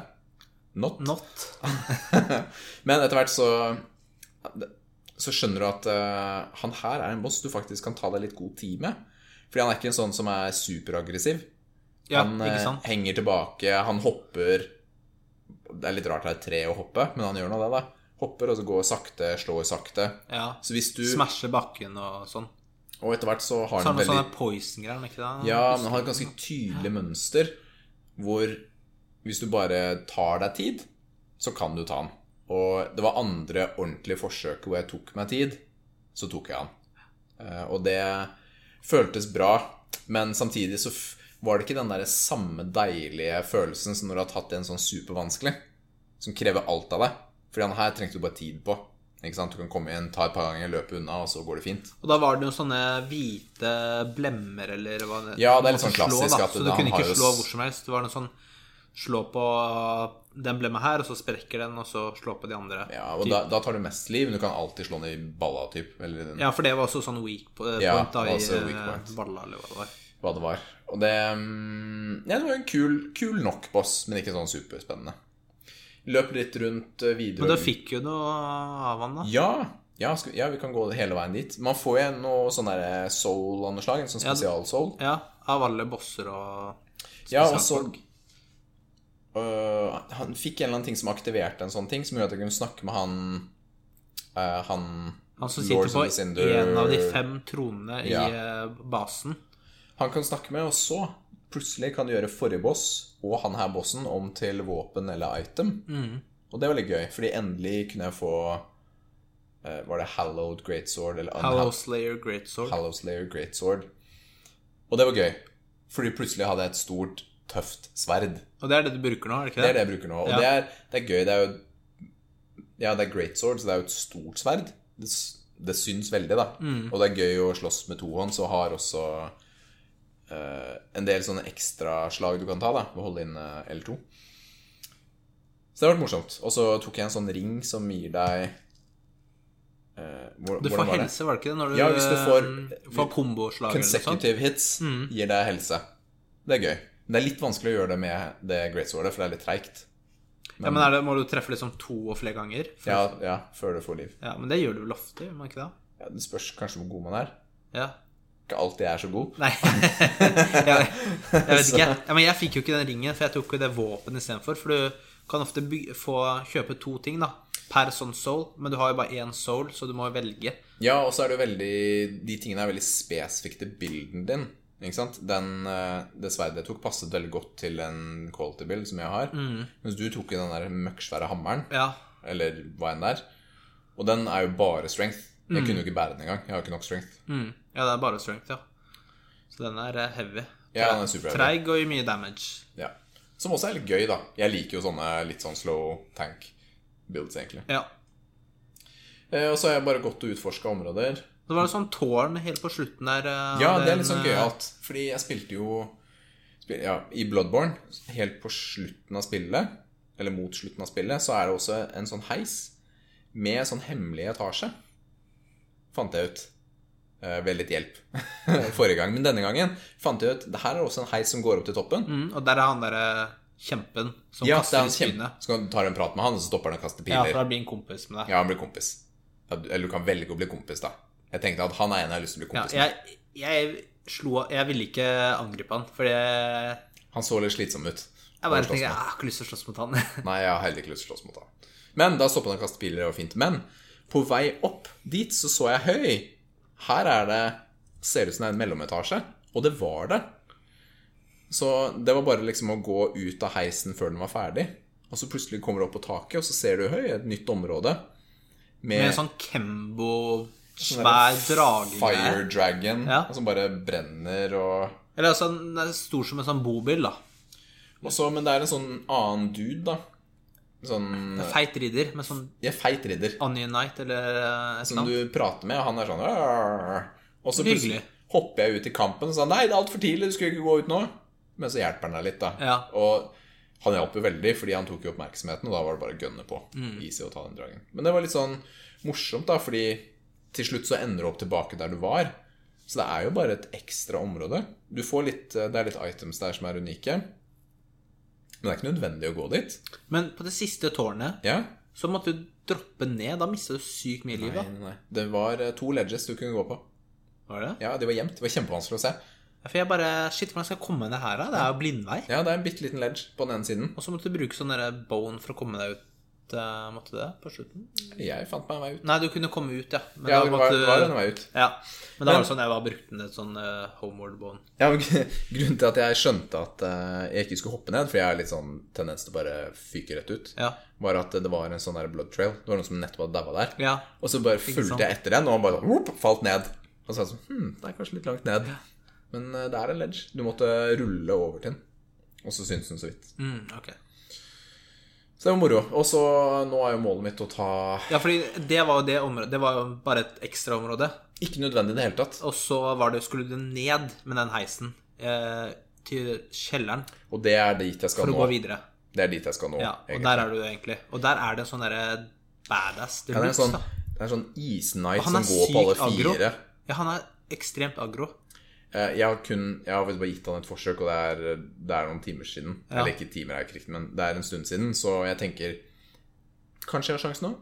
Speaker 2: Not.
Speaker 1: Not.
Speaker 2: Men etter hvert så Så skjønner du at eh, han her er en boss du faktisk kan ta deg litt god tid med. Fordi han er ikke en sånn som er superaggressiv.
Speaker 1: Ja,
Speaker 2: han eh,
Speaker 1: ikke sant?
Speaker 2: henger tilbake, han hopper Det er litt rart det er et tre å hoppe, men han gjør nå det, da. Hopper, og så går sakte, slår sakte.
Speaker 1: Ja.
Speaker 2: Så hvis du
Speaker 1: Smasher bakken og sånn.
Speaker 2: Og etter hvert så har
Speaker 1: Så har han
Speaker 2: han
Speaker 1: sånn noen
Speaker 2: veldig
Speaker 1: sånne poison-greier, ikke det?
Speaker 2: Ja, men han har et ganske tydelig mønster hvor hvis du bare tar deg tid, så kan du ta han. Og det var andre ordentlige forsøket hvor jeg tok meg tid, så tok jeg han. Eh, Og det føltes bra, men samtidig så f- var det ikke den der samme deilige følelsen som når du har tatt en sånn supervanskelig, som krever alt av deg. Fordi han her trengte du bare tid på. Ikke sant? Du kan komme inn, ta et par ganger, løpe unna, og så går det fint.
Speaker 1: Og da var det jo sånne hvite blemmer, eller hva det
Speaker 2: Ja, det er litt
Speaker 1: man
Speaker 2: sånn
Speaker 1: kan
Speaker 2: klassisk
Speaker 1: da.
Speaker 2: at
Speaker 1: Så du
Speaker 2: han
Speaker 1: kunne
Speaker 2: har
Speaker 1: ikke
Speaker 2: jo
Speaker 1: slå
Speaker 2: s-
Speaker 1: hvor som helst. Det var noe sånn slå på den blemma her, og så sprekker den, og så slå på de andre.
Speaker 2: Ja, og da, da tar du mest liv, men du kan alltid slå den i balla, typ. Eller den
Speaker 1: Ja, for det var også sånn weak po- point
Speaker 2: Ja,
Speaker 1: da, i
Speaker 2: altså weak
Speaker 1: eh,
Speaker 2: point.
Speaker 1: balla, eller hva det var.
Speaker 2: hva det var. Og det mm, Ja, det var en kul, kul nok boss, men ikke sånn superspennende. Løp litt rundt eh, videre.
Speaker 1: Men da fikk jo noe av han, da.
Speaker 2: ja, ja, skal, ja, vi kan gå hele veien dit. Man får jo noe sånn der soul av noe slag, en sånn
Speaker 1: Ja, det-
Speaker 2: spesial-soul.
Speaker 1: Ja, av alle bosser og
Speaker 2: Ja, og så øh, Han fikk en eller annen ting som aktiverte en sånn ting, som gjorde at jeg kunne snakke med han øh, Han
Speaker 1: Han som sitter
Speaker 2: Lords
Speaker 1: på
Speaker 2: of the Cinder-
Speaker 1: en av de fem tronene
Speaker 2: Ja.
Speaker 1: i eh, basen.
Speaker 2: han kan snakke med, og så plutselig kan du gjøre forrige boss og han her bossen om til våpen eller item.
Speaker 1: Mm.
Speaker 2: Og det var litt gøy, fordi endelig kunne jeg få eh, Var det Hallowed Greatsword eller Unha-
Speaker 1: Hallow Slayer Greatsword.
Speaker 2: Hallow Slayer Greatsword? Og det var gøy, fordi plutselig hadde jeg et stort, tøft sverd.
Speaker 1: Og det er det du bruker nå, er det ikke
Speaker 2: Det
Speaker 1: det?
Speaker 2: er det jeg bruker nå. Og
Speaker 1: Ja.
Speaker 2: det, er, det er gøy. Det er jo Ja, det er Greatsword, så det er jo et stort sverd. Det, s- det syns veldig, da.
Speaker 1: Mm.
Speaker 2: Og det er gøy å slåss med tohånd, så har også eh, en del sånne ekstraslag du kan ta, da, ved å holde inn eh, L2. Så det har vært morsomt. Og så tok jeg en sånn ring som gir deg eh, hvor,
Speaker 1: Du
Speaker 2: hvordan
Speaker 1: får
Speaker 2: var det?
Speaker 1: helse, var det ikke det? Når du,
Speaker 2: Ja, hvis du får-
Speaker 1: eh, får komboslag eller noe sånt. Mm.
Speaker 2: Consecutive hits gir deg helse. Det er gøy. Men det er litt vanskelig å gjøre det med det Greatswordet, for det er litt treigt.
Speaker 1: Ja, men er det, Må du treffe liksom to og flere ganger? For,
Speaker 2: Ja, ja, før du får liv.
Speaker 1: ja, Men det gjør du vel ofte, gjør man ikke det?
Speaker 2: Ja, det spørs kanskje hvor god man er.
Speaker 1: Ja.
Speaker 2: Ikke alltid jeg er så god.
Speaker 1: Nei. jeg, jeg vet ikke. Ja, men jeg fikk jo ikke den ringen, for jeg tok jo det våpenet istedenfor. For du kan ofte by få kjøpe to ting da per sånn soul, men du har jo bare én soul, så du må jo velge.
Speaker 2: Ja, og så er det jo veldig De tingene er veldig spesifikt til bilden din. Ikke sant? Den, eh, det sverdet jeg tok, passet veldig godt til en quality build som jeg har. Mens du tok jo den der møkksvære hammeren,
Speaker 1: Ja,
Speaker 2: eller hva enn det er. Og den er jo bare strength. Jeg kunne jo ikke bære den engang. Jeg har ikke nok strength.
Speaker 1: mm. ja det er bare strength, ja. Så den er eh, heavy.
Speaker 2: Ja, den er superheavy.
Speaker 1: Treig og gir mye damage.
Speaker 2: Ja. Som også er litt gøy, da. Jeg liker jo sånne litt sånn slow tank builds, egentlig.
Speaker 1: Ja.
Speaker 2: Eh, Og så har jeg bare gått og utforska områder.
Speaker 1: Så var det sånn tårn helt på slutten der. eh,
Speaker 2: Ja,
Speaker 1: av
Speaker 2: det er
Speaker 1: den,
Speaker 2: litt sånn
Speaker 1: eh,
Speaker 2: gøyalt. Fordi jeg spilte jo spil, ja, I Bloodborne, helt på slutten av spillet, eller mot slutten av spillet, så er det også en sånn heis med sånn hemmelig etasje. fant jeg ut eh, ved litt hjelp forrige gang. Men denne gangen fant jeg ut det her er også en heis som går opp til toppen.
Speaker 1: Mm, og der er han derre kjempen som
Speaker 2: Ja, det er
Speaker 1: kaster
Speaker 2: han
Speaker 1: ut
Speaker 2: kjempe-
Speaker 1: spinnet.
Speaker 2: Så kan du ta en prat med han, og så stopper han og kaster
Speaker 1: Ja,
Speaker 2: piler.
Speaker 1: for han blir en kompis med deg.
Speaker 2: Ja, han blir kompis. Ja, du- Eller du kan velge å bli kompis, da. Jeg tenkte at han er en jeg har lyst til å bli
Speaker 1: Ja,
Speaker 2: kompis med.
Speaker 1: jeg, jeg slo Jeg ville ikke angripe han, for jeg,
Speaker 2: Han så litt slitsom ut.
Speaker 1: jeg bare
Speaker 2: Å slåss
Speaker 1: tenkte
Speaker 2: med.
Speaker 1: jeg har ikke lyst til å slåss mot han.
Speaker 2: Nei, jeg har heller ikke lyst til å slåss mot han. Men da stoppet han å kaste piler, det var fint. Men på vei opp dit så så jeg høy. Her er det Ser ut som det er en mellometasje. Og det var det. Så det var bare liksom å gå ut av heisen før den var ferdig. Og så plutselig kommer du opp på taket, og så ser du høy, et nytt område.
Speaker 1: Med en
Speaker 2: Med,
Speaker 1: sånn Kembo, svær drage.
Speaker 2: sånn Fire Dragon,
Speaker 1: Ja.
Speaker 2: som bare brenner og
Speaker 1: Eller altså, den er stor som en sånn bobil, da.
Speaker 2: Og så- men det er en sånn annen dude, da. Sånn
Speaker 1: Feit ridder med sånn
Speaker 2: Jeg er feit ridder.
Speaker 1: Onion Knight eller eh, et
Speaker 2: Som
Speaker 1: navn.
Speaker 2: du prater med, og han er sånn «Arr». Og så plutselig
Speaker 1: Hyggelig.
Speaker 2: hopper jeg ut i kampen og sa Nei, det er altfor tidlig, du skulle ikke gå ut nå. Men så hjelper han deg litt, da.
Speaker 1: Ja.
Speaker 2: Og han hjalp jo veldig, fordi han tok jo oppmerksomheten, og da var det bare å gønne på.
Speaker 1: Mm.
Speaker 2: Easy å ta den dragen. Men det var litt sånn morsomt, da, fordi til slutt så ender du opp tilbake der du var. Så det er jo bare et ekstra område. Du får litt, eh, Det er litt items der som er unike. Men det er ikke nødvendig å gå dit.
Speaker 1: Men på det siste tårnet
Speaker 2: Ja.
Speaker 1: så måtte du droppe ned. Da mista du sykt mye liv,
Speaker 2: Nei,
Speaker 1: da.
Speaker 2: nei. Det var eh, to ledges du kunne gå på.
Speaker 1: Var det?
Speaker 2: Ja, de var gjemt. Det var kjempevanskelig å se.
Speaker 1: Ja, For jeg bare Shit, hvordan skal jeg komme meg ned her, da? Det er jo blindvei.
Speaker 2: Ja, det er en bitte liten ledge på den ene siden.
Speaker 1: Og så måtte du bruke sånn derre bone for å komme deg ut. eh, Måtte du det på slutten?
Speaker 2: Jeg fant meg en vei ut.
Speaker 1: Nei, du kunne komme ut, ja. Men
Speaker 2: Ja,
Speaker 1: da
Speaker 2: det var,
Speaker 1: måtte du
Speaker 2: var en vei ut.
Speaker 1: Ja. Men da var det sånn jeg var brukte ned et sånn eh, homeward bone.
Speaker 2: Ja, men grunnen til at jeg skjønte at eh, jeg ikke skulle hoppe ned, for jeg har litt sånn tendens til å bare fyke rett ut,
Speaker 1: Ja.
Speaker 2: var at det var en sånn der blood trail. Det var noen som nettopp hadde daua der.
Speaker 1: ja.
Speaker 2: Og så bare
Speaker 1: sant.
Speaker 2: fulgte jeg etter den, og han bare sånn, whoop, falt ned. Og så var jeg sånn Hm, det er kanskje litt langt ned. Men eh, det er en ledge. Du måtte rulle over til den. Og så syntes hun så vidt.
Speaker 1: Mm, ok.
Speaker 2: Så det var moro. Og så nå er jo målet mitt å ta
Speaker 1: Ja, fordi det var jo det området Det var jo bare et ekstraområde.
Speaker 2: Ikke nødvendig i det hele tatt.
Speaker 1: Og så var det, skulle du ned med den heisen eh, til kjelleren
Speaker 2: Og det er dit jeg skal
Speaker 1: for å
Speaker 2: nå.
Speaker 1: gå videre.
Speaker 2: Det er dit jeg skal nå.
Speaker 1: Ja, og
Speaker 2: egentlig.
Speaker 1: der er du egentlig. Og der er det en sånn derre badass
Speaker 2: Ja, det er en
Speaker 1: deluxe,
Speaker 2: sånn,
Speaker 1: da.
Speaker 2: det er en sånn isknight
Speaker 1: Han
Speaker 2: som
Speaker 1: er
Speaker 2: går på alle
Speaker 1: sykt aggro.
Speaker 2: fire.
Speaker 1: Ja, han er ekstremt aggro.
Speaker 2: Eh, Jeg har, kun, jeg har vel bare gitt han et forsøk, og det er, det er noen timer siden.
Speaker 1: Ja.
Speaker 2: Eller ikke timer er jo ikke riktig, men det er en stund siden. Så jeg tenker Kanskje jeg har sjansen nå?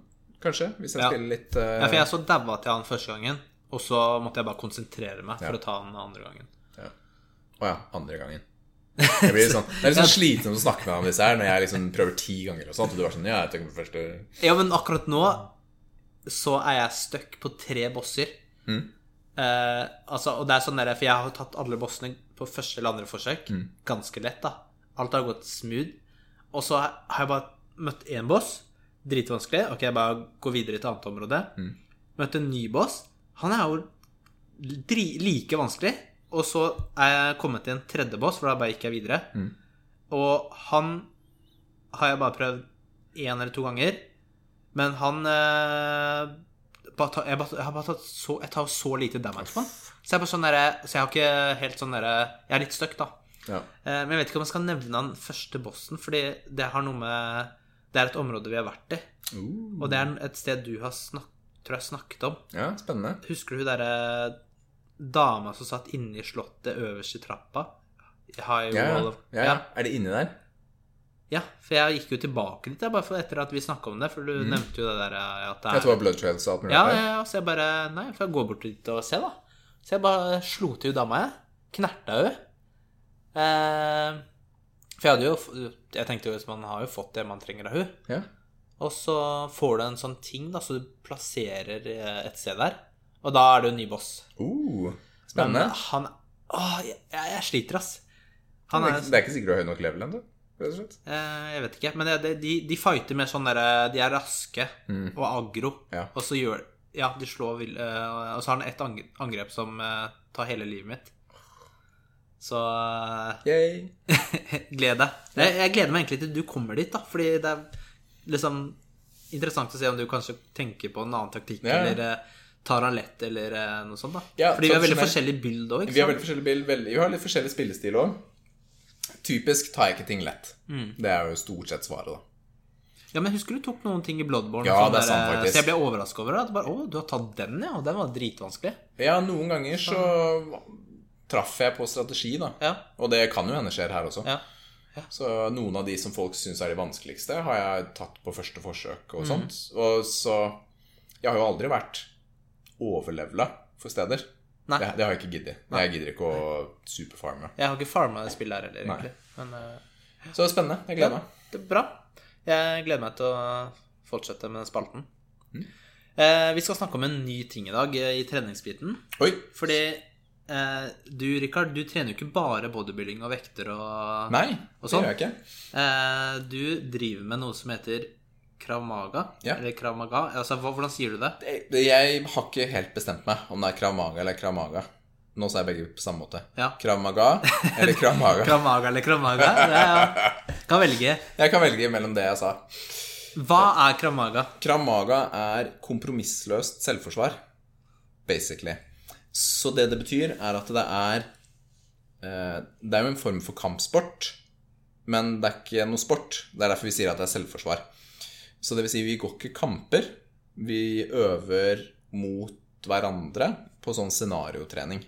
Speaker 2: Kanskje, hvis jeg
Speaker 1: Ja.
Speaker 2: spiller litt eh,
Speaker 1: Ja, for jeg så daua til han første gangen, og så måtte jeg bare konsentrere meg
Speaker 2: Ja.
Speaker 1: for å ta han andre gangen.
Speaker 2: Å ja, andre gangen. Jeg blir litt sånn, det er litt sånn slitsomt å snakke med ham om disse her når jeg liksom prøver ti ganger og sånt, og du er sånn Ja, jeg tenker på første
Speaker 1: Ja, men akkurat nå så er jeg stuck på tre bosser.
Speaker 2: Mhm.
Speaker 1: Eh, altså, og det er sånn der, For jeg har tatt alle bossene på første eller andre forsøk.
Speaker 2: Mm.
Speaker 1: Ganske lett, da. Alt har gått smooth. Og så har jeg bare møtt én boss. Dritvanskelig. Ok, jeg bare går videre til annet område.
Speaker 2: Mhm.
Speaker 1: Møtte en ny boss. Han er jo dri like vanskelig. Og så er jeg kommet til en tredje boss, for da bare gikk jeg videre.
Speaker 2: Mhm.
Speaker 1: Og han har jeg bare prøvd én eller to ganger. Men han eh, bare ta, jeg, bare, jeg har bare tatt så Jeg tar så lite damage på han. Så jeg er bare sånn derre Så jeg har ikke helt sånn derre Jeg er litt stuck, da.
Speaker 2: Ja.
Speaker 1: Eh, men jeg vet ikke om jeg skal nevne han første bossen, fordi det har noe med Det er et område vi har vært i,
Speaker 2: Uh.
Speaker 1: og det er et sted du har snak, tror jeg snakket om.
Speaker 2: ja, spennende.
Speaker 1: Husker du hun derre dama som satt inne i slottet øverst i trappa? High
Speaker 2: Ja,
Speaker 1: wall
Speaker 2: ja.
Speaker 1: of-
Speaker 2: ja, ja. Er det inni der?
Speaker 1: Ja, for jeg gikk jo tilbake dit jeg, bare for etter at vi snakka om det. For du nevnte jo det der eh, at det
Speaker 2: Mm. Jeg
Speaker 1: er
Speaker 2: tror det var blood trails og alt mulig
Speaker 1: ja,
Speaker 2: der.
Speaker 1: ja, ja, så jeg bare Nei, får jeg gå bort dit og se, da. Så jeg bare slo til dama, jeg. Knerta hun. Eh, for jeg hadde jo f- Jeg tenkte jo at man har jo fått det man trenger av hun.
Speaker 2: Ja.
Speaker 1: Og så får du en sånn ting, da, så du plasserer eh, et sted der. Og da er du en ny boss.
Speaker 2: Uh,
Speaker 1: Men
Speaker 2: spennende.
Speaker 1: han Åh, jeg, jeg jeg sliter, ass.
Speaker 2: Det
Speaker 1: Han
Speaker 2: er
Speaker 1: er
Speaker 2: ikke- det er ikke sikkert du har høy nok level ennå. rett og slett.
Speaker 1: Eh, Jeg vet ikke, men det, det, de, de fighter med sånn derre De er raske og aggro,
Speaker 2: Ja.
Speaker 1: og så gjør Ja, de slår vill- eh, Og så har han ett ang- angrep som eh, tar hele livet mitt. Så eh,
Speaker 2: Yay.
Speaker 1: gled deg. Jeg, jeg gleder meg egentlig til du kommer dit, da, fordi det er liksom interessant å se om du kanskje tenker på en annen taktikk,
Speaker 2: Ja, ja.
Speaker 1: eller eh, tar han lett, eller eh, noe sånt, da.
Speaker 2: Ja,
Speaker 1: fordi vi har veldig
Speaker 2: tradisjonelt.
Speaker 1: forskjellig build òg,
Speaker 2: Vi
Speaker 1: ikke
Speaker 2: har veldig
Speaker 1: sant?
Speaker 2: forskjellig bil, veldig, vi har litt forskjellig spillestil
Speaker 1: Mm.
Speaker 2: òg. Typisk tar jeg ikke ting lett. Det er jo stort sett svaret, da.
Speaker 1: Ja, men husker du tok noen ting i Bloodborne?
Speaker 2: Ja,
Speaker 1: sånn
Speaker 2: det er sant,
Speaker 1: der,
Speaker 2: faktisk.
Speaker 1: Så jeg ble overraska over det. At bare, å, du har tatt den, ja. Og den var dritvanskelig.
Speaker 2: Ja, noen ganger så traff jeg på strategi, da.
Speaker 1: Ja.
Speaker 2: Og det kan jo hende skjer her også.
Speaker 1: Ja.
Speaker 2: Så noen av de som folk syns er de vanskeligste, har jeg tatt på første forsøk
Speaker 1: Mm.
Speaker 2: og sånt. Og så Jeg har jo aldri vært overlevela for steder.
Speaker 1: Nei.
Speaker 2: Det, det har jeg ikke giddet. Jeg gidder ikke å superfarme.
Speaker 1: Jeg har ikke farma det spillet her heller,
Speaker 2: Nei.
Speaker 1: egentlig. Men eh,
Speaker 2: Så det er spennende. Jeg gleder meg.
Speaker 1: det er bra. Jeg gleder meg til å fortsette med den spalten.
Speaker 2: Mm.
Speaker 1: Eh, vi skal snakke om en ny ting i dag eh, i treningsbiten.
Speaker 2: Oi!
Speaker 1: Fordi eh, du, Rikard, du trener jo ikke bare bodybuilding og vekter og
Speaker 2: Nei,
Speaker 1: Og
Speaker 2: det
Speaker 1: sånn.
Speaker 2: gjør jeg ikke.
Speaker 1: Eh, du driver med noe som heter Krav Maga.
Speaker 2: Ja.
Speaker 1: Eller Krav Maga. Altså, hva, hvordan sier du det?
Speaker 2: Det- Jeg har ikke helt bestemt meg om det er Krav Maga eller Krav Maga. Nå sa jeg begge på samme måte.
Speaker 1: Ja.
Speaker 2: Krav Maga eller Krav Maga.
Speaker 1: Krav Maga eller Krav Maga? Det er, kan velge.
Speaker 2: Jeg kan velge mellom det jeg sa.
Speaker 1: Hva er Krav Maga?
Speaker 2: Krav Maga er kompromissløst selvforsvar, basically. Så det det betyr, er at det er eh, Det er jo en form for kampsport, men det er ikke noe sport. Det er derfor vi sier at det er selvforsvar. Så det vil si, vi går ikke kamper. Vi øver mot hverandre på sånn scenariotrening.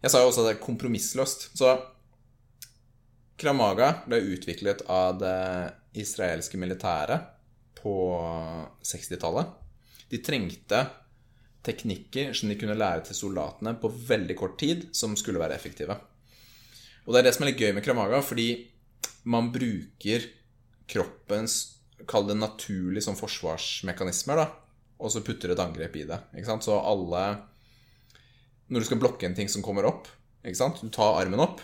Speaker 2: Jeg sa jo også at det er kompromissløst. Så Kramaga ble utviklet av det israelske militæret på 60-tallet. De trengte teknikker som de kunne lære til soldatene på veldig kort tid, som skulle være effektive. Og det er det som er litt gøy med Kramaga, fordi man bruker kroppens Kall det naturlig som forsvarsmekanismer, da. Og så putter et angrep i det. Ikke sant? Så alle Når du skal blokke en ting som kommer opp, ikke sant? du tar armen opp,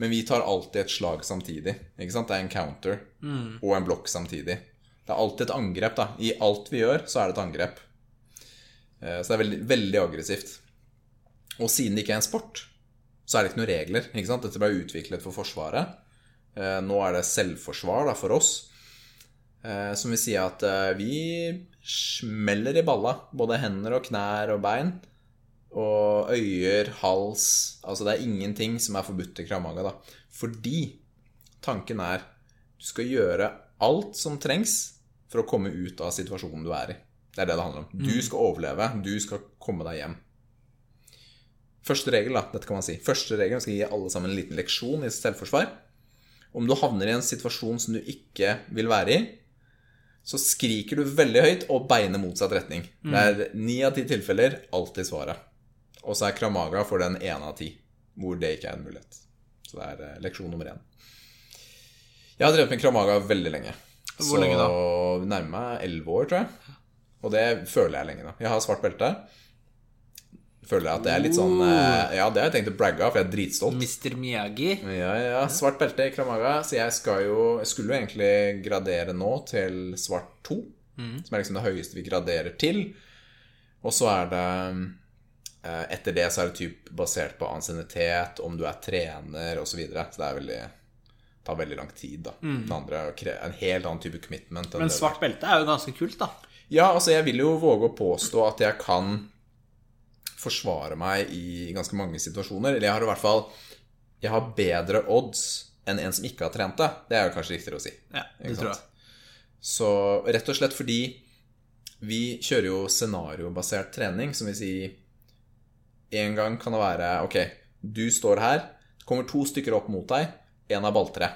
Speaker 2: men vi tar alltid et slag samtidig. Ikke sant? Det er en counter og en blokk samtidig. Det er alltid et angrep, da. I alt vi gjør, så er det et angrep. Eh, Så det er veldig, veldig aggressivt. Og siden det ikke er en sport, så er det ikke noen regler. Ikke sant? Dette ble utviklet for Forsvaret. Eh, Nå er det selvforsvar da, for oss. Eh, Som vil si at eh, vi smeller i balla. Både hender og knær og bein. Og øyer, hals Altså det er ingenting som er forbudt i Kramaga, da. Fordi tanken er du skal gjøre alt som trengs for å komme ut av situasjonen du er i. Det er det det handler om. Du skal overleve. Du skal komme deg hjem. Første regel, da. Dette kan man si. Første regel vi skal gi alle sammen en liten leksjon i selvforsvar. Om du havner i en situasjon som du ikke vil være i, så skriker du veldig høyt og beiner motsatt retning.
Speaker 1: Mm.
Speaker 2: Det er ni av ti tilfeller alltid svaret. Og så er Kramaga for den ene av ti hvor det ikke er en mulighet. Så det er eh, leksjon nummer én. Jeg har drevet med Kramaga veldig lenge.
Speaker 1: Hvor lenge da?
Speaker 2: Så nærmer meg elleve år, tror jeg. Og det føler jeg lenge nå. Jeg har svart belte. Føler jeg at det er litt sånn eh, Ja, det har jeg tenkt å bragge av, for jeg er dritstolt.
Speaker 1: Mr. Miyagi.
Speaker 2: Ja, ja. Svart belte i Kramaga. Så jeg skal jo Jeg skulle jo egentlig gradere nå til svart 2, som er liksom det høyeste vi graderer til. Og så er det eh, Etter det så er det typ basert på ansiennitet, om du er trener osv. Så, videre. så det er veldig tar veldig lang tid, da. Det andre er å kre- en helt annen type commitment. enn
Speaker 1: Men
Speaker 2: det-
Speaker 1: svart belte er jo ganske kult, da.
Speaker 2: ja, altså jeg vil jo våge å påstå at jeg kan forsvare meg i ganske mange situasjoner. Eller jeg har i hvert fall Jeg har bedre odds enn en som ikke har trent det. Det er jo kanskje riktigere å si.
Speaker 1: Ja, det
Speaker 2: Ikke
Speaker 1: tror jeg.
Speaker 2: sant? Så rett og slett fordi vi kjører jo scenariobasert trening, som vil si En gang kan det være Ok, du står her. Det kommer to stykker opp mot deg. Én er balltre.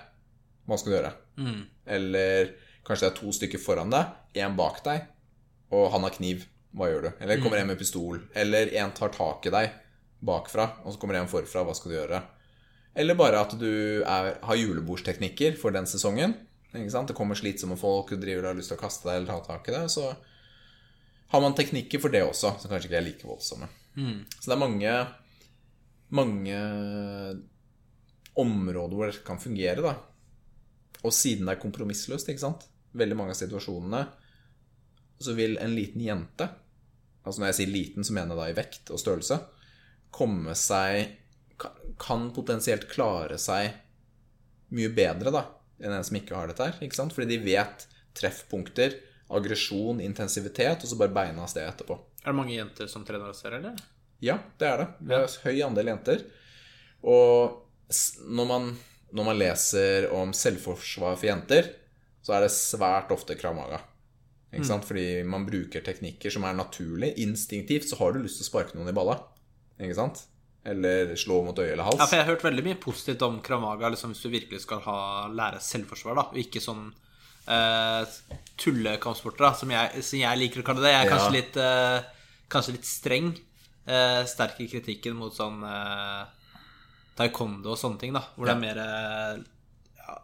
Speaker 2: Hva skal du gjøre?
Speaker 1: Mm.
Speaker 2: Eller kanskje det er to stykker foran deg, én bak deg, og han har kniv. Hva gjør du? Eller kommer en med pistol. Eller en tar tak i deg bakfra, og så kommer en forfra. Hva skal du gjøre? Eller bare at du er, har julebordsteknikker for den sesongen. Ikke sant? Det kommer slitsomme folk og driver og har lyst til å kaste deg eller ta tak i deg. Så har man teknikker for det også, som kanskje ikke er like voldsomme. Så det er mange, mange områder hvor det kan fungere, da. Og siden det er kompromissløst, ikke sant? Veldig mange av situasjonene Så vil en liten jente Altså når jeg sier liten, så mener jeg da i vekt og størrelse Komme seg kan- Kan potensielt klare seg Mye bedre da Enn en som ikke har dette her, ikke sant? Fordi de vet treffpunkter Aggresjon, intensivitet Og så bare beina av sted etterpå
Speaker 1: Er det mange jenter som trener oss her, eller?
Speaker 2: ja, det er det. Det er høy andel jenter. Og s- når man, når man leser om selvforsvar for jenter, så er det svært ofte kramaga. Ikke sant? Fordi man bruker teknikker som er naturlig. Instinktivt så har du lyst til å sparke noen i balla. Ikke sant? Eller slå mot øye eller hals.
Speaker 1: Ja, for jeg har hørt veldig mye positivt om Kramaga liksom, hvis du virkelig skal ha, lære selvforsvar. da, Og ikke sånn eh, tullekampsporter, da, som jeg, som jeg liker å kalle det. Jeg er
Speaker 2: Ja.
Speaker 1: kanskje, litt, eh, kanskje litt streng. Eh, sterk i kritikken mot sånn eh, taekwondo og sånne ting, da, hvor det
Speaker 2: Ja.
Speaker 1: er mer eh, ja,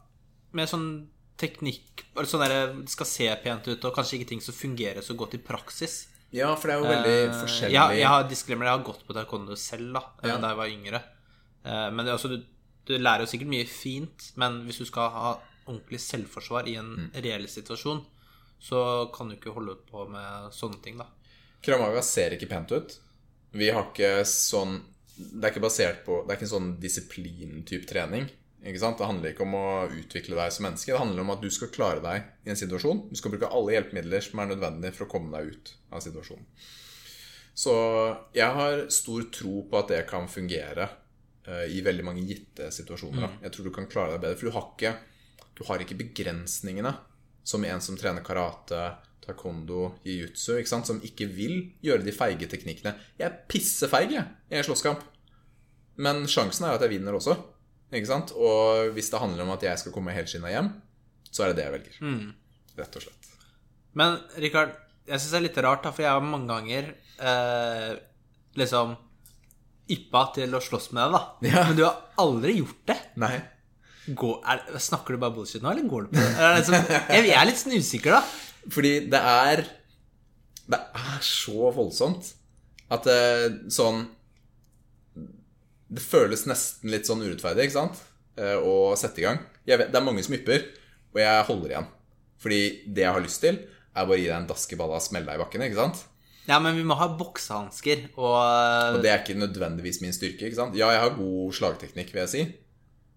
Speaker 1: Mer sånn teknikk eller sånn der, Det skal se pent ut, og kanskje ikke ting som fungerer så godt i praksis.
Speaker 2: Ja, for det er jo veldig
Speaker 1: Eh,
Speaker 2: forskjellig
Speaker 1: Jeg, jeg har disclaimer, jeg har gått på taekwondo selv da eh,
Speaker 2: Ja.
Speaker 1: da jeg var yngre. Eh, Men det er også, du, du lærer jo sikkert mye fint, men hvis du skal ha ordentlig selvforsvar i en
Speaker 2: Mm.
Speaker 1: reell situasjon, så kan du ikke holde på med sånne ting, da.
Speaker 2: Kramaga ser ikke pent ut. Vi har ikke sånn Det er ikke basert på Det er ikke en sånn disiplin-type trening. Ikke sant? Det handler ikke om å utvikle deg som menneske. Det handler om at du skal klare deg i en situasjon. Du skal bruke alle hjelpemidler som er nødvendige for å komme deg ut av situasjonen. Så jeg har stor tro på at det kan fungere eh, i veldig mange gitte situasjoner. da. Jeg tror du kan klare deg bedre, for du har ikke, du har ikke begrensningene som en som trener karate, taekwondo, jiu-jitsu, ikke sant? som ikke vil gjøre de feige teknikkene. Jeg er pissefeig jeg, i en slåsskamp, men sjansen er jo at jeg vinner også. Ikke sant? Og hvis det handler om at jeg skal komme helskinna hjem, så er det det jeg velger. Rett og slett.
Speaker 1: Men Rikard, jeg syns det er litt rart, da, for jeg har mange ganger eh, liksom yppa til å slåss med deg, da.
Speaker 2: Ja.
Speaker 1: Men du har aldri gjort det.
Speaker 2: Nei.
Speaker 1: Går, er, snakker du bare bullshit nå, eller går du på det? Er det liksom, jeg, jeg er litt usikker, da.
Speaker 2: Fordi det er Det er så voldsomt at det sånn Det føles nesten litt sånn urettferdig, ikke sant? Eh, Å sette i gang. Jeg vet, det er mange som ypper, og jeg holder igjen. Fordi det jeg har lyst til, er bare å gi deg en dask i balla og smelle deg i bakken. ikke sant?
Speaker 1: Ja, men vi må ha boksehansker og, eh,
Speaker 2: Og det er ikke nødvendigvis min styrke. ikke sant? Ja, jeg har god slagteknikk, vil jeg si.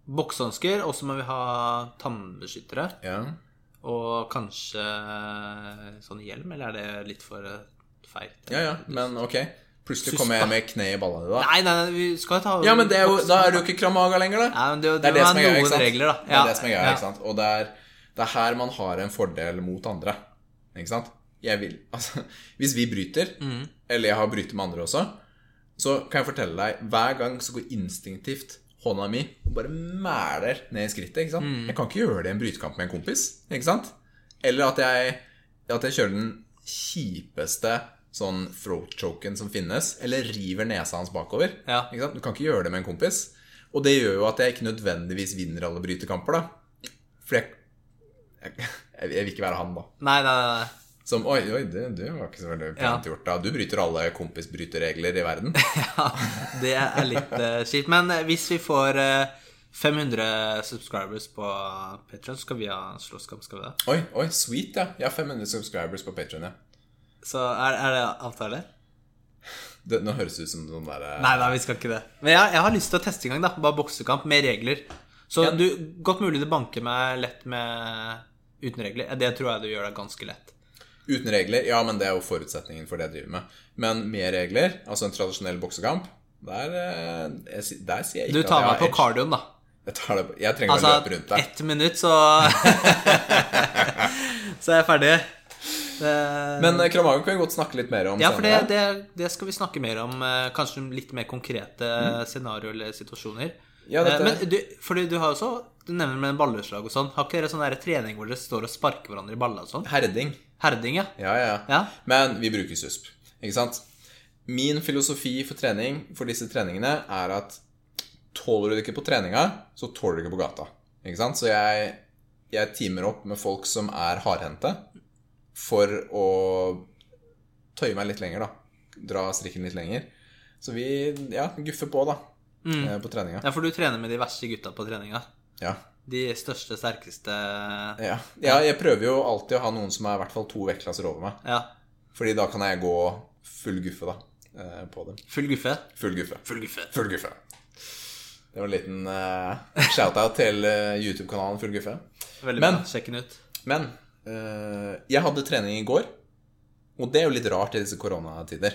Speaker 1: boksehansker, og så må vi ha tannbeskyttere.
Speaker 2: Ja.
Speaker 1: Og kanskje sånn hjelm, eller er det litt for eh, feigt?
Speaker 2: ja, ja, men ok. Plutselig kommer jeg med kne i balla di, da.
Speaker 1: Nei, nei, nei, vi skal jo ta
Speaker 2: Ja, men det er jo, da er du ikke kramaga lenger, da.
Speaker 1: Nei, men det,
Speaker 2: Det er det som er
Speaker 1: noen
Speaker 2: gøy, ikke sant?
Speaker 1: regler, da.
Speaker 2: Det er det som er gøy, ikke sant? Og det er, det er her man har en fordel mot andre. Ikke sant? Jeg vil, altså, hvis vi bryter,
Speaker 1: Mm.
Speaker 2: eller jeg har brytet med andre også, så kan jeg fortelle deg, hver gang så går instinktivt hånda mi og bare mæler ned i skrittet, ikke sant? Jeg kan ikke gjøre det i en brytekamp med en kompis, ikke sant? Eller at jeg, at jeg kjører den kjipeste sånn throat choken som finnes, eller river nesa hans bakover.
Speaker 1: Ja.
Speaker 2: Ikke sant? Du kan ikke gjøre det med en kompis. Og det gjør jo at jeg ikke nødvendigvis vinner alle brytekamper, da. For jeg, jeg, jeg vil ikke være han, da.
Speaker 1: Nei, nei, nei. nei.
Speaker 2: Som Oi, oi, det, det var ikke så veldig pent gjort, da. Du bryter alle kompisbryterregler i verden.
Speaker 1: Ja, det er litt eh, kjipt. Men eh, hvis vi får eh, 500 subscribers på Patreon, så skal vi ha en slåsskamp, skal vi det?
Speaker 2: Oi, oi, sweet, ja. Jeg har 500 subscribers på Patreon, ja.
Speaker 1: Så er, er det avtale?
Speaker 2: Det, nå høres det ut som noen eh, derre
Speaker 1: Nei, nei, vi skal ikke det. Men jeg, jeg har lyst til å teste en gang, da. Bare boksekamp med regler. Så
Speaker 2: Ja.
Speaker 1: du, godt mulig du banker meg lett med uten regler. Det tror jeg du gjør deg ganske lett.
Speaker 2: Uten regler, ja, men det er jo forutsetningen for det jeg driver med. Men med regler, altså en tradisjonell boksekamp, der, eh, jeg, si- der sier jeg
Speaker 1: Du
Speaker 2: ikke
Speaker 1: tar meg
Speaker 2: at
Speaker 1: på
Speaker 2: jeg har edge.
Speaker 1: kardioen, da.
Speaker 2: Jeg, tar det på- jeg trenger å løpe
Speaker 1: Altså
Speaker 2: rundt deg.
Speaker 1: ett minutt, så Så er jeg ferdig. Det-
Speaker 2: Men eh, Kramaga kan vi godt snakke litt mer om
Speaker 1: ja, for det, det, det skal vi snakke mer om. eh, Kanskje litt mer konkrete scenarioer eller situasjoner.
Speaker 2: Mm. Ja, dette-
Speaker 1: Eh, Men du, fordi du har jo så Du nevner med balleslag og sånn. Har ikke dere sånn der trening hvor dere står og sparker hverandre i balla og sånn?
Speaker 2: Herding.
Speaker 1: Herding, ja.
Speaker 2: Ja, ja, ja.
Speaker 1: Ja.
Speaker 2: Men vi bruker susp, ikke sant? Min filosofi for trening for disse treningene er at tåler du det ikke på treninga, så tåler du det ikke på gata. Ikke sant? Så jeg, jeg teamer opp med folk som er hardhendte, for å tøye meg litt lenger, da. Dra strikken litt lenger. Så vi ja, guffer på, da. eh, På treninga.
Speaker 1: Ja, for du trener med de verste gutta på treninga.
Speaker 2: Ja.
Speaker 1: De største, sterkeste
Speaker 2: Ja. ja, jeg prøver jo alltid å ha noen som er i hvert fall to vektklasser over meg.
Speaker 1: Ja.
Speaker 2: Fordi da kan jeg gå full guffe, da. eh, På dem.
Speaker 1: Full guffe.
Speaker 2: Full guffe.
Speaker 1: Full guffe.
Speaker 2: Full guffe. Det var en liten eh, shout-out til eh, YouTube-kanalen Full guffe.
Speaker 1: Veldig
Speaker 2: Men-
Speaker 1: bra. Sjekk den ut.
Speaker 2: Men eh, jeg hadde trening i går, og det er jo litt rart i disse koronatider.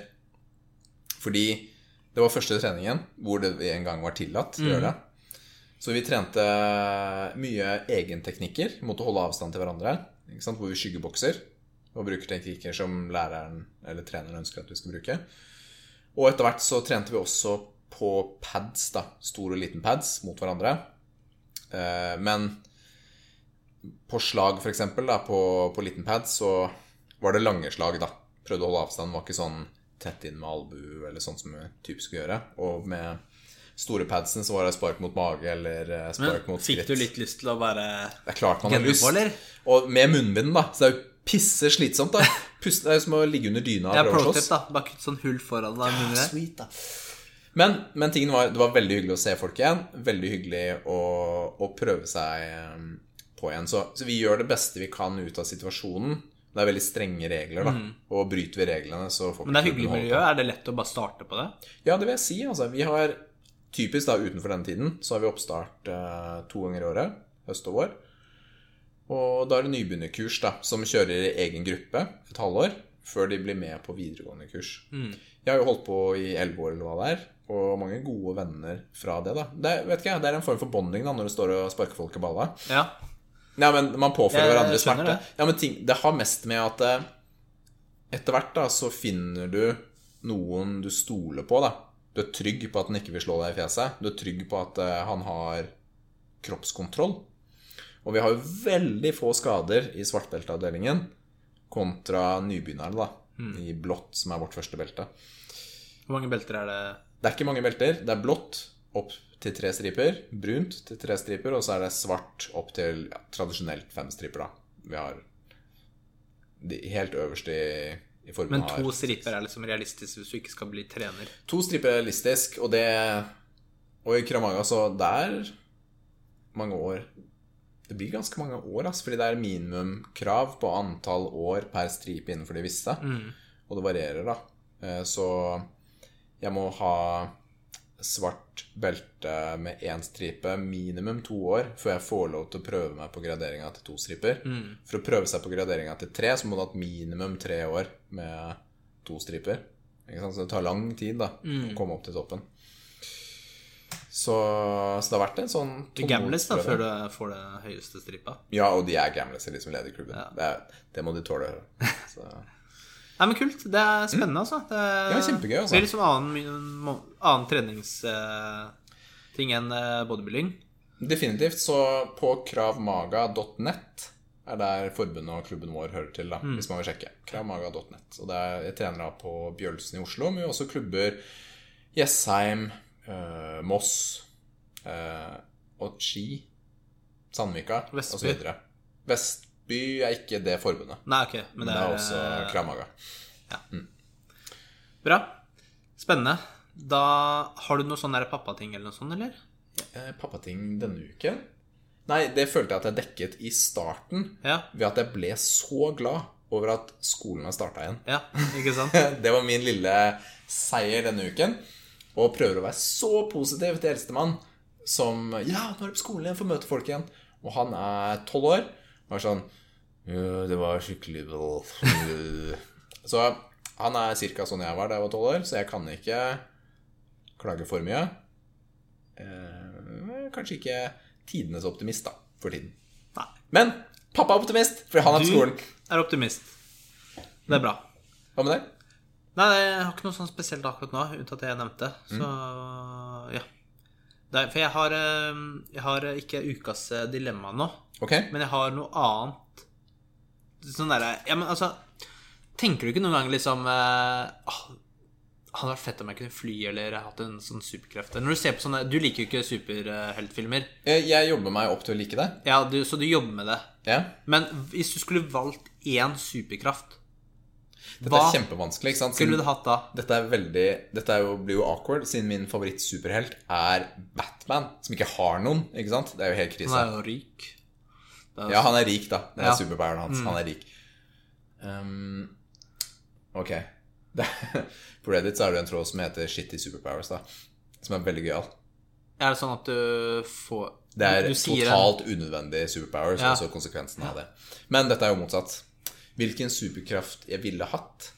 Speaker 2: Fordi det var første treningen hvor det en gang var tillatt å gjøre det. Så vi trente mye egenteknikker mot å holde avstand til hverandre. Ikke sant? Hvor vi skyggebokser og bruker teknikker som læreren eller treneren ønsker at vi skal bruke. Og etter hvert så trente vi også på pads, da. Stor og liten pads mot hverandre. Eh, Men på slag, for eksempel, da, på, på liten pad, så var det lange slag, da. Prøvde å holde avstand. Var ikke sånn tett inn med albu eller sånn som vi typisk gjør. Og med store padsen så var det spark mot mage eller eh,
Speaker 1: Men
Speaker 2: spark mot
Speaker 1: fikk
Speaker 2: skritt.
Speaker 1: du litt lyst til å være
Speaker 2: Det er klart man har
Speaker 1: Gønne på,
Speaker 2: lyst.
Speaker 1: eller?
Speaker 2: Og med munnbind, da. Så det er jo pisse slitsomt, da. Puste, det er jo som å ligge under dyna.
Speaker 1: Det
Speaker 2: og
Speaker 1: er
Speaker 2: prøve å
Speaker 1: pro
Speaker 2: slåss.
Speaker 1: tip, da. Bare kutt sånn hull foran deg.
Speaker 2: Ah,
Speaker 1: munnen der.
Speaker 2: Sweet, da. Men, men tingen var, det var veldig hyggelig å se folk igjen. Veldig hyggelig å, å prøve seg eh, på igjen. Så, så vi gjør det beste vi kan ut av situasjonen. Det er veldig strenge regler, da. Og bryter vi reglene, så får vi
Speaker 1: Mm. Men det er
Speaker 2: ikke
Speaker 1: hyggelig
Speaker 2: holde på.
Speaker 1: miljø. Er det lett å bare starte på det?
Speaker 2: Ja, det vil jeg si. Altså, vi har typisk da utenfor denne tiden, så har vi oppstart eh, to ganger i året. Høst og vår. Og da er det nybegynnerkurs, da, som kjører i egen gruppe et halvår før de blir med på videregående kurs. Jeg har jo holdt på i elleve år, eller hva det er, og mange gode venner fra det, da. Det er, vet ikke, jeg, det er en form for bonding da, når du står og sparker folk i balla.
Speaker 1: Ja.
Speaker 2: Nei, men man påfører
Speaker 1: Jeg
Speaker 2: hverandre
Speaker 1: skjønner
Speaker 2: smerte.
Speaker 1: det.
Speaker 2: Det. Ja, men ting, det har mest med at eh, etter hvert da, så finner du noen du stoler på, da. Du er trygg på at den ikke vil slå deg i fjeset. Du er trygg på at eh, han har kroppskontroll. Og vi har jo veldig få skader i svartbelteavdelingen kontra nybegynnerne, da. I blått, som er vårt første belte.
Speaker 1: Hvor mange belter er det?
Speaker 2: Det er ikke mange belter. Det er blått opp til tre striper, brunt til tre striper, og så er det svart opp til ja, tradisjonelt fem striper, da. Vi har de helt øverste i, i formen
Speaker 1: Men
Speaker 2: har
Speaker 1: to striper er liksom realistisk hvis du ikke skal bli trener.
Speaker 2: To striper er realistisk, og det Og i Kramaga, så det er mange år Det blir ganske mange år, altså, fordi det er minimumkrav på antall år per stripe innenfor de visse.
Speaker 1: Mm,
Speaker 2: Og det varierer, da. Eh, Så jeg må ha svart belte med én stripe minimum to år før jeg får lov til å prøve meg på graderinga til to striper.
Speaker 1: Mm.
Speaker 2: For å prøve seg på graderinga til tre, så må du ha hatt minimum tre år med to striper. Ikke sant? Så det tar lang tid da
Speaker 1: Mm.
Speaker 2: å komme opp til toppen. Så, så det har vært en sånn
Speaker 1: Du gambles da
Speaker 2: tålmodighetsprøve.
Speaker 1: før du får det høyeste stripa.
Speaker 2: Ja, og de er gamblers, de som leder klubben.
Speaker 1: Ja.
Speaker 2: Det, er, det må de tåle. Så.
Speaker 1: Nei, men kult. Det er spennende, altså. Det er,
Speaker 2: Ja, kjempegøy, altså.
Speaker 1: Blir liksom annen, annen treningsting enn eh, bodybuilding.
Speaker 2: Definitivt. Så på kravmaga.net er der forbundet og klubben vår hører til, da, hvis man vil sjekke. Kravmaga.net. Og det er, jeg trener da på Bjølsen i Oslo, men vi har også klubber Jessheim, eh, Moss eh, og Ski, Sandvika
Speaker 1: Vestby.
Speaker 2: osv. Vestby er ikke det forbundet.
Speaker 1: Nei, ok. Men
Speaker 2: Men
Speaker 1: det
Speaker 2: det er
Speaker 1: er,
Speaker 2: også
Speaker 1: eh,
Speaker 2: Kravmaga.
Speaker 1: bra. Spennende. Da Har du noe sånn der pappating eller noe sånt, eller?
Speaker 2: Eh, Pappating denne uken? Nei, det følte jeg at jeg dekket i starten.
Speaker 1: Ja.
Speaker 2: ved at jeg ble så glad over at skolen har starta igjen.
Speaker 1: Ja, ikke sant?
Speaker 2: Det var min lille seier denne uken. Og prøver å være så positiv til eldstemann som Ja, nå er det på skolen igjen, får møte folk igjen. Og han er tolv år. Og er sånn «Ja, Det var skikkelig Så han er cirka sånn jeg var da jeg var tolv år, så jeg kan ikke klage for mye. Eh, Kanskje ikke tidenes optimist, da, for tiden.
Speaker 1: Nei.
Speaker 2: Men pappa er optimist, for han er på
Speaker 1: Du-
Speaker 2: skolen.
Speaker 1: Er optimist. Det er bra.
Speaker 2: Hva med deg?
Speaker 1: Nei, jeg har ikke noe sånn spesielt akkurat nå, unntatt det jeg nevnte.
Speaker 2: Mm.
Speaker 1: Så ja. Det er, for jeg har, eh, jeg har ikke ukas eh, dilemma nå,
Speaker 2: Ok?
Speaker 1: men jeg har noe annet. Sånn derre Ja, men altså Tenker du ikke noen gang liksom eh, «Åh, Hadde vært fett om jeg kunne fly eller hatt en sånn superkreft? Når du ser på sånne Du liker jo ikke superheltfilmer.
Speaker 2: Jeg, Eh, jeg jobber meg opp til å like det.
Speaker 1: Ja, du, så du jobber med det.
Speaker 2: Ja.
Speaker 1: Men hvis du skulle valgt én superkraft,
Speaker 2: Dette
Speaker 1: hva
Speaker 2: er kjempevanskelig. ikke sant? Siden-
Speaker 1: skulle du hatt da?
Speaker 2: Dette, er veldig, dette er jo, blir jo awkward, siden min favorittsuperhelt er Batman, som ikke har noen. ikke sant? Det er jo helt krise.
Speaker 1: Han er jo rik. Det er jo
Speaker 2: Ja, han er rik, da. Det er
Speaker 1: Ja. Mm.
Speaker 2: superpoweren hans. Han er rik. Um, ok. Det- På Reddit så er det en tråd som heter 'Shitty superpowers', da. Som er veldig gøyal.
Speaker 1: Er det sånn at du får
Speaker 2: Det er
Speaker 1: du sier en-
Speaker 2: totalt unødvendig superpowers,
Speaker 1: Ja.
Speaker 2: altså konsekvensen av det. Men dette er jo motsatt. Hvilken superkraft jeg ville hatt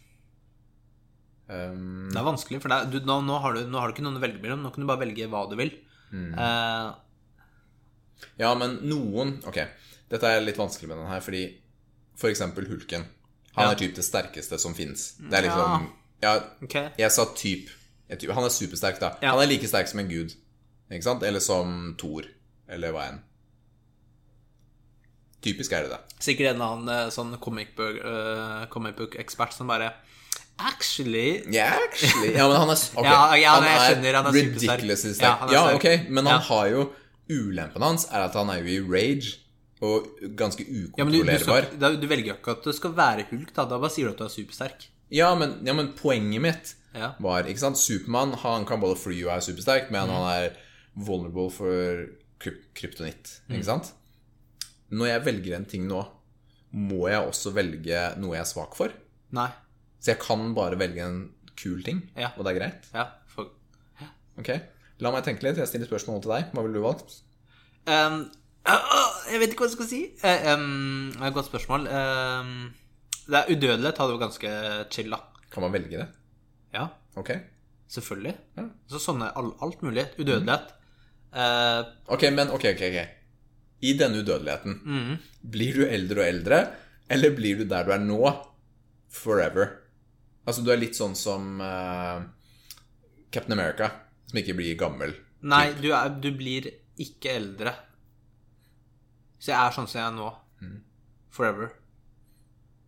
Speaker 2: um,
Speaker 1: Det er
Speaker 2: Mm.
Speaker 1: vanskelig, for det er, du, nå, nå, har du, nå har du ikke noen å velge mellom. Nå kan du bare velge hva du vil. Eh,
Speaker 2: Ja, men noen Ok, dette er litt vanskelig med den her, fordi for eksempel Hulken. Han
Speaker 1: Ja.
Speaker 2: er typ det sterkeste som fins. Det er liksom Ja,
Speaker 1: Ok.
Speaker 2: jeg sa typ. Jeg typ- Han er supersterk, da.
Speaker 1: Ja.
Speaker 2: Han er like sterk som en gud. Ikke sant? Eller som Thor. Eller hva enn. Typisk er det det.
Speaker 1: Sikkert en eller annen eh, sånn comic book, eh, comic book ekspert som bare Actually
Speaker 2: Ja, actually Ja, men han er ok.
Speaker 1: Ja, ja, men jeg skjønner, han er supersterk.
Speaker 2: ridiculously
Speaker 1: Ja,
Speaker 2: sterk.
Speaker 1: han er
Speaker 2: Ja,
Speaker 1: sterk.
Speaker 2: ok, men
Speaker 1: Ja.
Speaker 2: han har jo Ulempen hans er at han er jo i rage og ganske
Speaker 1: ja, men du, du,
Speaker 2: ukontrollerbar.
Speaker 1: skal, da, du velger jo ikke at du skal være hulk, da. Da bare sier du at du er supersterk.
Speaker 2: Ja, men, ja, men poenget mitt
Speaker 1: Ja.
Speaker 2: var ikke sant? Supermann han kan både fly og er supersterk, men han er vulnerable for kryp- kryptonitt. Ikke sant? Når jeg velger en ting nå, må jeg også velge noe jeg er svak for.
Speaker 1: Nei.
Speaker 2: Så jeg kan bare velge en kul ting,
Speaker 1: Ja.
Speaker 2: og det er greit.
Speaker 1: Ja. Fuck.
Speaker 2: Ok, La meg tenke litt. Jeg stiller spørsmål til deg. Hva ville du valgt?
Speaker 1: Um, øh, øh, jeg vet ikke hva jeg skal si. Eh, um, det er et godt spørsmål. Um, det er udødelighet hadde jo ganske chill, da.
Speaker 2: Kan man velge det?
Speaker 1: Ja,
Speaker 2: Ok.
Speaker 1: selvfølgelig.
Speaker 2: Ja.
Speaker 1: Så sånne all, alt mulig. Udødelighet. Eh,
Speaker 2: Ok, men ok, ok, ok. I denne udødeligheten,
Speaker 1: mm,
Speaker 2: blir du eldre og eldre, eller blir du der du er nå, forever? Altså, du er litt sånn som eh, Captain America, som ikke blir gammel.
Speaker 1: nei, du, er, du blir ikke eldre. Så jeg er sånn som jeg er nå. Forever.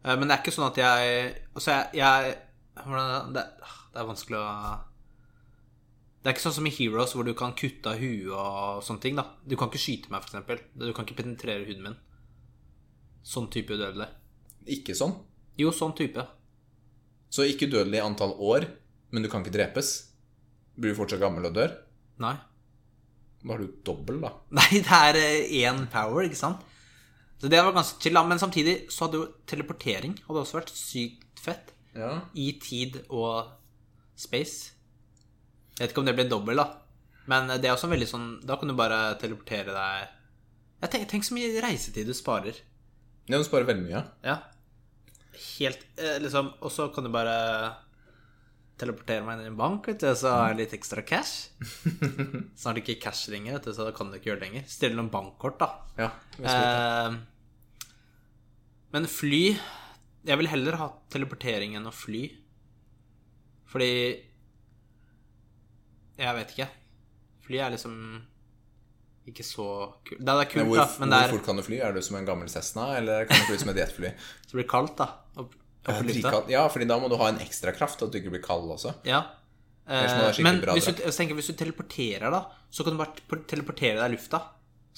Speaker 1: Eh, men det er ikke sånn at jeg Altså, jeg, jeg hvordan, det, det er vanskelig å Det er ikke sånn som i Heroes, hvor du kan kutte av huet og sånne ting. da Du kan ikke skyte meg, f.eks. Du kan ikke penetrere huden min. Sånn type udødelig.
Speaker 2: Ikke sånn.
Speaker 1: Jo, sånn type.
Speaker 2: Så ikke dødelig i antall år, men du kan ikke drepes. Blir du fortsatt gammel og dør?
Speaker 1: Nei.
Speaker 2: Da har du dobbel, da.
Speaker 1: Nei, det er eh, én power, ikke sant? Så det var ganske chill. da. Men samtidig så hadde jo teleportering hadde også vært sykt fett.
Speaker 2: Ja.
Speaker 1: I tid og space. Jeg vet ikke om det blir dobbel, da. Men det er også veldig sånn Da kan du bare teleportere deg Jeg tenk, tenk så mye reisetid du sparer.
Speaker 2: Ja, du sparer veldig mye.
Speaker 1: Ja. Helt eh, liksom Og så kan du bare teleportere meg inn i en bank, vet du, og så har jeg litt ekstra cash. Snart ikke cash lenger, vet du, så da kan du ikke gjøre det lenger. Stille noen bankkort, da.
Speaker 2: Ja.
Speaker 1: Eh, Ehm, men fly Jeg vil heller ha teleportering enn å fly. Fordi Jeg vet ikke. Fly er liksom ikke så kult. Det er kult,
Speaker 2: Men hvor,
Speaker 1: da, men det
Speaker 2: hvor
Speaker 1: er
Speaker 2: fort kan du fly? Er du som en gammel Cessna, eller kan du fly som et jetfly?
Speaker 1: så blir det kaldt, da. Opp, opp i lufta.
Speaker 2: Drikalt- Ja, fordi da må du ha en ekstra kraft, at du ikke blir kald også.
Speaker 1: Ja. Eh,
Speaker 2: Ellers må det være skikkelig
Speaker 1: men
Speaker 2: bra
Speaker 1: hvis du,
Speaker 2: drakt.
Speaker 1: jeg tenker, hvis du teleporterer, da, så kan du bare t- teleportere deg i lufta.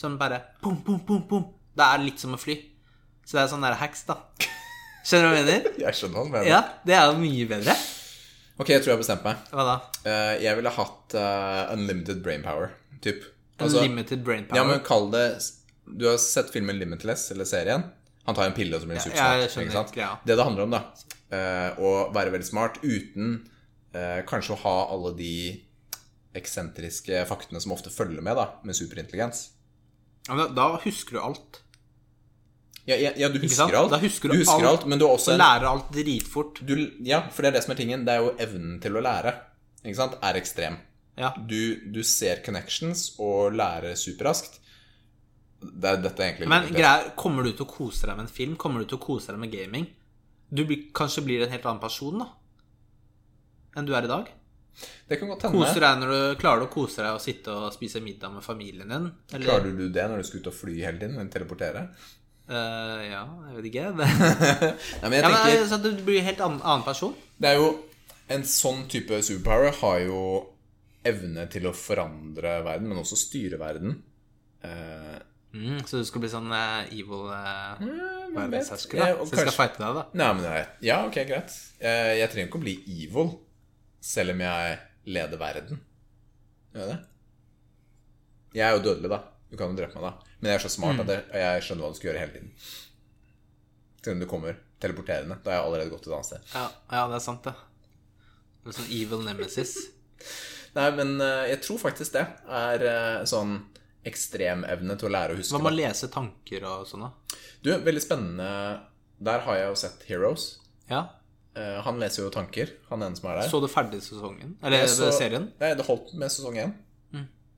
Speaker 1: Sånn bare pum, pum, pum, pum. Det er litt som å fly. Så det er sånn der hacks, da. Skjønner du hva jeg mener?
Speaker 2: Jeg skjønner hva du mener.
Speaker 1: Ja, det er jo mye bedre.
Speaker 2: Ok, jeg tror jeg har bestemt meg.
Speaker 1: Hva da?
Speaker 2: Eh, jeg ville hatt eh, unlimited brain power, typ. Altså,
Speaker 1: Unlimited brain
Speaker 2: ja, men
Speaker 1: power.
Speaker 2: kall det Du har sett filmen Limitless, eller serien? Han tar en pille og så blir han
Speaker 1: Ja, jeg
Speaker 2: supersmart.
Speaker 1: skjønner,
Speaker 2: ikke sant?
Speaker 1: ja.
Speaker 2: Det det handler om, da. eh, å være veldig smart uten eh, kanskje å ha alle de eksentriske faktene som ofte følger med da, med superintelligens.
Speaker 1: Ja, men da husker du alt.
Speaker 2: Ja, ja, ja du
Speaker 1: sant?
Speaker 2: husker alt.
Speaker 1: Da husker du
Speaker 2: du husker
Speaker 1: alt.
Speaker 2: alt, men du har også
Speaker 1: Du
Speaker 2: en
Speaker 1: lærer alt dritfort.
Speaker 2: du, Ja, for det er det som er tingen. Det er jo evnen til å lære, ikke sant, er ekstrem.
Speaker 1: Ja.
Speaker 2: du, du ser connections og lærer superraskt. Det er dette er egentlig
Speaker 1: Men
Speaker 2: litt-
Speaker 1: greier, kommer du til å kose deg med en film? Kommer du til å kose deg med gaming? Du blir, kanskje blir en helt annen person da enn du er i dag.
Speaker 2: Det kan godt hende.
Speaker 1: Koser deg når du klarer å kose deg og sitte og spise middag med familien din. Eller,
Speaker 2: Klarer du det når du skal ut og fly hele tiden? eller Teleportere?
Speaker 1: Eh, ja, jeg vet ikke. Det,
Speaker 2: Nei, men jeg
Speaker 1: ja, men,
Speaker 2: tenker
Speaker 1: altså, du blir en helt annen, annen person.
Speaker 2: Det er jo En sånn type superpower har jo evne til å forandre verden, men også styre verden. Eh,
Speaker 1: Mm, så du skal bli sånn eh, evil uh,
Speaker 2: hvem Mm, vet?
Speaker 1: verdenshersker?
Speaker 2: Ja,
Speaker 1: da.
Speaker 2: og
Speaker 1: Så du skal
Speaker 2: kanskje-
Speaker 1: fighte deg, da?
Speaker 2: Nei, men jeg, Ja, ok, greit. Eh, jeg trenger ikke å bli evil, selv om jeg leder verden. Gjør jeg det? Jeg er jo dødelig, da. Du kan jo drepe meg, da. Men jeg er så
Speaker 1: Mm.
Speaker 2: smart at jeg, jeg skjønner hva du skal gjøre hele tiden. Til om du kommer teleporterende. Da har jeg allerede gått et annet sted.
Speaker 1: Ja, ja, det er sant, det. Du er sånn evil nemesis.
Speaker 2: Nei, men eh, jeg tror faktisk det er eh, sånn ekstremevne til å lære å huske.
Speaker 1: Hva med å
Speaker 2: da.
Speaker 1: lese tanker og sånn, da?
Speaker 2: Du, veldig spennende Der har jeg jo sett Heroes.
Speaker 1: Ja.
Speaker 2: Eh, han leser jo tanker, han ene som er der.
Speaker 1: Så du ferdig sesongen? Eller
Speaker 2: Jeg så-
Speaker 1: Eh, serien? Mm.
Speaker 2: Nei, det holdt med sesong én.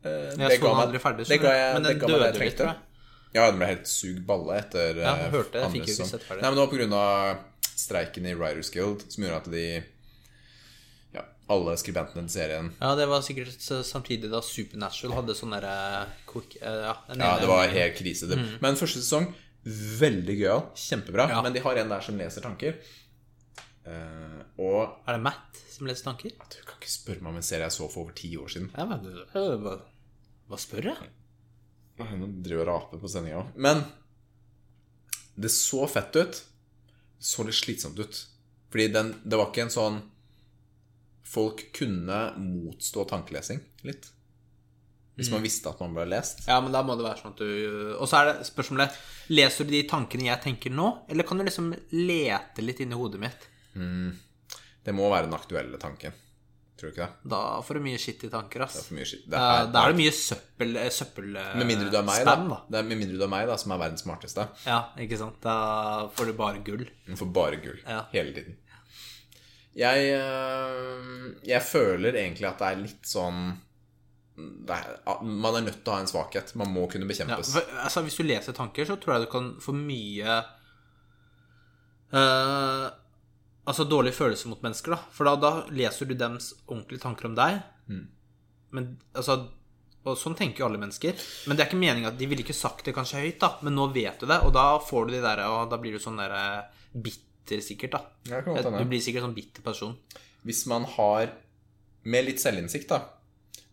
Speaker 2: Eh,
Speaker 1: Jeg
Speaker 2: det
Speaker 1: så
Speaker 2: ga
Speaker 1: den
Speaker 2: meg,
Speaker 1: aldri ferdig,
Speaker 2: det
Speaker 1: skjønner
Speaker 2: ga
Speaker 1: du.
Speaker 2: jeg,
Speaker 1: Men
Speaker 2: det
Speaker 1: den
Speaker 2: ga meg det
Speaker 1: døde
Speaker 2: jeg
Speaker 1: litt,
Speaker 2: trengte.
Speaker 1: tror jeg.
Speaker 2: Ja, den ble helt sugd balle etter
Speaker 1: Ja, jeg
Speaker 2: eh,
Speaker 1: hørte det. Jeg
Speaker 2: andre
Speaker 1: fikk jo ikke
Speaker 2: som-
Speaker 1: sett ferdig.
Speaker 2: Nei, men det var pga. streiken i Writers Guild som gjorde at de Ja, alle skribentene i serien
Speaker 1: Ja, det var sikkert s- samtidig da Supernatural hadde sånn derre quick- eh, Ja, den
Speaker 2: Ja,
Speaker 1: ene-
Speaker 2: det var helt krise. Det. Men første sesong, veldig gøyal. Kjempebra.
Speaker 1: Mm. Ja.
Speaker 2: Men de har en der som leser tanker. Eh, og
Speaker 1: Er det Matt som leser tanker?
Speaker 2: du kan ikke spørre meg om en serie jeg så for over ti år siden.
Speaker 1: Ja, men, øh, hva, hva spør jeg?
Speaker 2: Nå driver jeg og raper på sendinga òg. Men det så fett ut. Så litt slitsomt ut. Fordi den, det var ikke en sånn Folk kunne motstå tankelesing litt. Hvis man visste at man ble lest.
Speaker 1: Ja, men da må det være sånn at du Og så er det spørsmålet Leser du de tankene jeg tenker nå, eller kan du liksom lete litt inni hodet mitt?
Speaker 2: Det må være den aktuelle tanken. Tror du ikke det?
Speaker 1: Da får du mye skitt i tanker,
Speaker 2: Det er
Speaker 1: ass.
Speaker 2: for mye skitt.
Speaker 1: Eh,
Speaker 2: Det er-
Speaker 1: Da er det mye søppel... eh, søppel eh,
Speaker 2: Med mindre du er meg,
Speaker 1: spam,
Speaker 2: da. Det er med mindre du er meg, da, som er verdens smarteste.
Speaker 1: Ja, ikke sant. Da får du bare gull.
Speaker 2: Hun får bare gull
Speaker 1: Ja.
Speaker 2: hele tiden. Jeg, øh, jeg føler egentlig at det er litt sånn det er, Man er nødt til å ha en svakhet. Man må kunne
Speaker 1: Ja,
Speaker 2: bekjempes.
Speaker 1: for, altså, hvis du leser tanker, så tror jeg du kan få mye eh, Altså dårlig følelse mot mennesker, da. For da, da leser du dems ordentlige tanker om deg.
Speaker 2: Mm.
Speaker 1: Men altså Og sånn tenker jo alle mennesker. Men det er ikke meningen at de ville ikke sagt det kanskje høyt, da. Men nå vet du det, og da får du de derre Og da blir du sånn derre bitter, sikkert, da.
Speaker 2: Ja, det kan godt hende.
Speaker 1: Du blir sikkert sånn bitter person.
Speaker 2: Hvis man har Med litt selvinnsikt, da,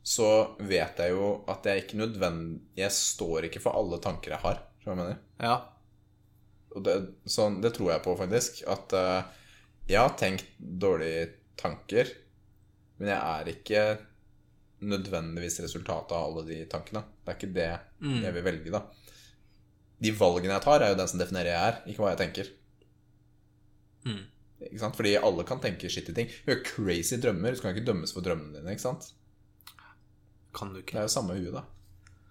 Speaker 2: så vet jeg jo at jeg ikke nødvendig Jeg står ikke for alle tanker jeg har. Skjønner du hva jeg mener?
Speaker 1: Ja.
Speaker 2: Og det, sånn, det tror jeg på, faktisk. At eh, jeg har tenkt dårlige tanker, men jeg er ikke nødvendigvis resultatet av alle de tankene. Det er ikke det
Speaker 1: Mm.
Speaker 2: jeg vil velge, da. De valgene jeg tar, er jo den som definerer jeg er, ikke hva jeg tenker.
Speaker 1: Mm.
Speaker 2: Ikke sant? Fordi alle kan tenke shitty ting. Du har crazy drømmer, så kan ikke dømmes for drømmene dine. ikke sant?
Speaker 1: Kan du
Speaker 2: Det
Speaker 1: ikke.
Speaker 2: er jo samme huet, da.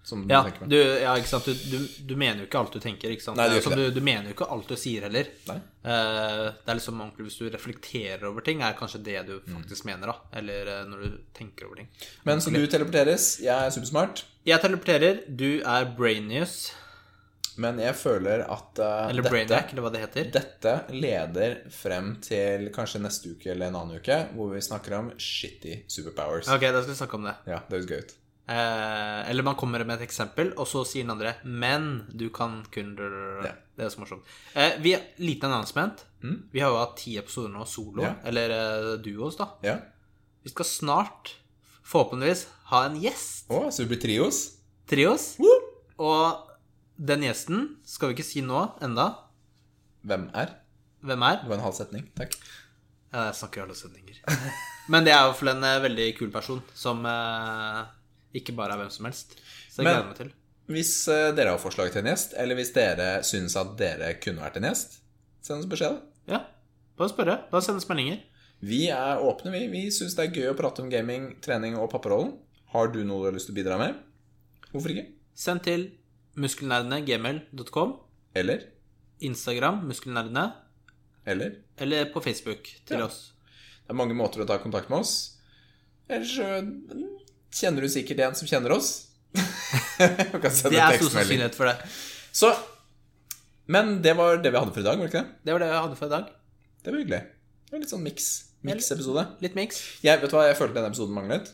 Speaker 2: Som
Speaker 1: Ja,
Speaker 2: du tenker med.
Speaker 1: du, ja, ikke sant. Du, du, du mener jo ikke alt du tenker, ikke sant.
Speaker 2: Nei, du gjør
Speaker 1: Altså,
Speaker 2: ikke
Speaker 1: du, du mener jo ikke alt du sier heller.
Speaker 2: Nei.
Speaker 1: Eh, Det er liksom ordentlig Hvis du reflekterer over ting, er kanskje det du
Speaker 2: Mm.
Speaker 1: faktisk mener. da Eller eh, når du tenker over ting.
Speaker 2: Men så du teleporteres. Jeg er supersmart.
Speaker 1: Jeg teleporterer. Du er brainius.
Speaker 2: Men jeg føler at eh,
Speaker 1: Eller brainiac, eller hva det heter.
Speaker 2: Dette leder frem til kanskje neste uke eller en annen uke, hvor vi snakker om shitty superpowers.
Speaker 1: Ok, da skal vi snakke om det.
Speaker 2: Ja, det høres gøy ut.
Speaker 1: Eh, eller man kommer med et eksempel, og så sier den andre 'men du kan kun
Speaker 2: Ja. Mm.
Speaker 1: Det er så morsomt. Eh, vi Liten announcement. Vi har jo hatt ti episoder nå solo,
Speaker 2: Ja.
Speaker 1: eller eh, duos, da.
Speaker 2: Ja.
Speaker 1: Vi skal snart, forhåpentligvis, ha en gjest.
Speaker 2: Å, så det blir trios?
Speaker 1: Trios. Og den gjesten skal vi ikke si nå enda.
Speaker 2: Hvem er?
Speaker 1: Hvem er?
Speaker 2: Det var en halv setning. Takk.
Speaker 1: Ja, Jeg snakker i alle setninger. Men det er i hvert fall en eh, veldig kul person som eh, ikke bare er hvem som helst. Så det
Speaker 2: Men-
Speaker 1: gleder jeg meg til.
Speaker 2: Hvis eh, dere har forslag til en gjest, eller hvis dere syns at dere kunne vært en gjest, send oss beskjed. da.
Speaker 1: Ja, bare spørre. Da sendes meldinger.
Speaker 2: Vi er åpne, vi. Vi syns det er gøy å prate om gaming, trening og papparollen. Har du noe du har lyst til å bidra med? Hvorfor ikke?
Speaker 1: Send til muskelnerdene.gmail.com,
Speaker 2: Eller?
Speaker 1: Instagram muskelnerdene,
Speaker 2: Eller?
Speaker 1: eller på Facebook til
Speaker 2: Ja.
Speaker 1: oss.
Speaker 2: Det er mange måter å ta kontakt med oss. Ellers så kjenner du sikkert en som kjenner oss. Du kan sende
Speaker 1: Det er stor
Speaker 2: tekstmelding.
Speaker 1: sannsynlighet for det.
Speaker 2: Så Men det var det vi hadde for i dag, var det ikke det?
Speaker 1: Det var det jeg hadde for i dag.
Speaker 2: Det var hyggelig. Det var Litt sånn miks. Miksepisode.
Speaker 1: Litt mix.
Speaker 2: Jeg, vet du hva jeg følte denne episoden manglet?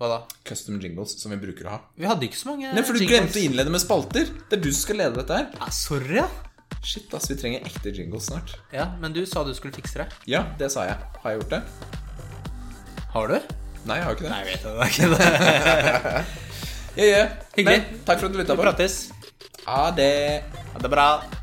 Speaker 1: Hva da?
Speaker 2: Custom jingles, som vi bruker å ha.
Speaker 1: Vi hadde ikke så mange
Speaker 2: Nei, for du glemte å innlede med spalter! Det er du som skal lede dette her.
Speaker 1: Ja, sorry. ja.
Speaker 2: Shit, ass, vi trenger ekte jingles snart.
Speaker 1: Ja, men du sa du skulle fikse det.
Speaker 2: Ja, det sa jeg. Har jeg gjort det?
Speaker 1: Har du?
Speaker 2: Nei, jeg har ikke det.
Speaker 1: jeg vet det ikke. det.
Speaker 2: Yeah, yeah.
Speaker 1: Hyggelig.
Speaker 2: Men, takk for at du lytta
Speaker 1: Vi
Speaker 2: på.
Speaker 1: prates.
Speaker 2: Ha det.
Speaker 1: Ha det bra.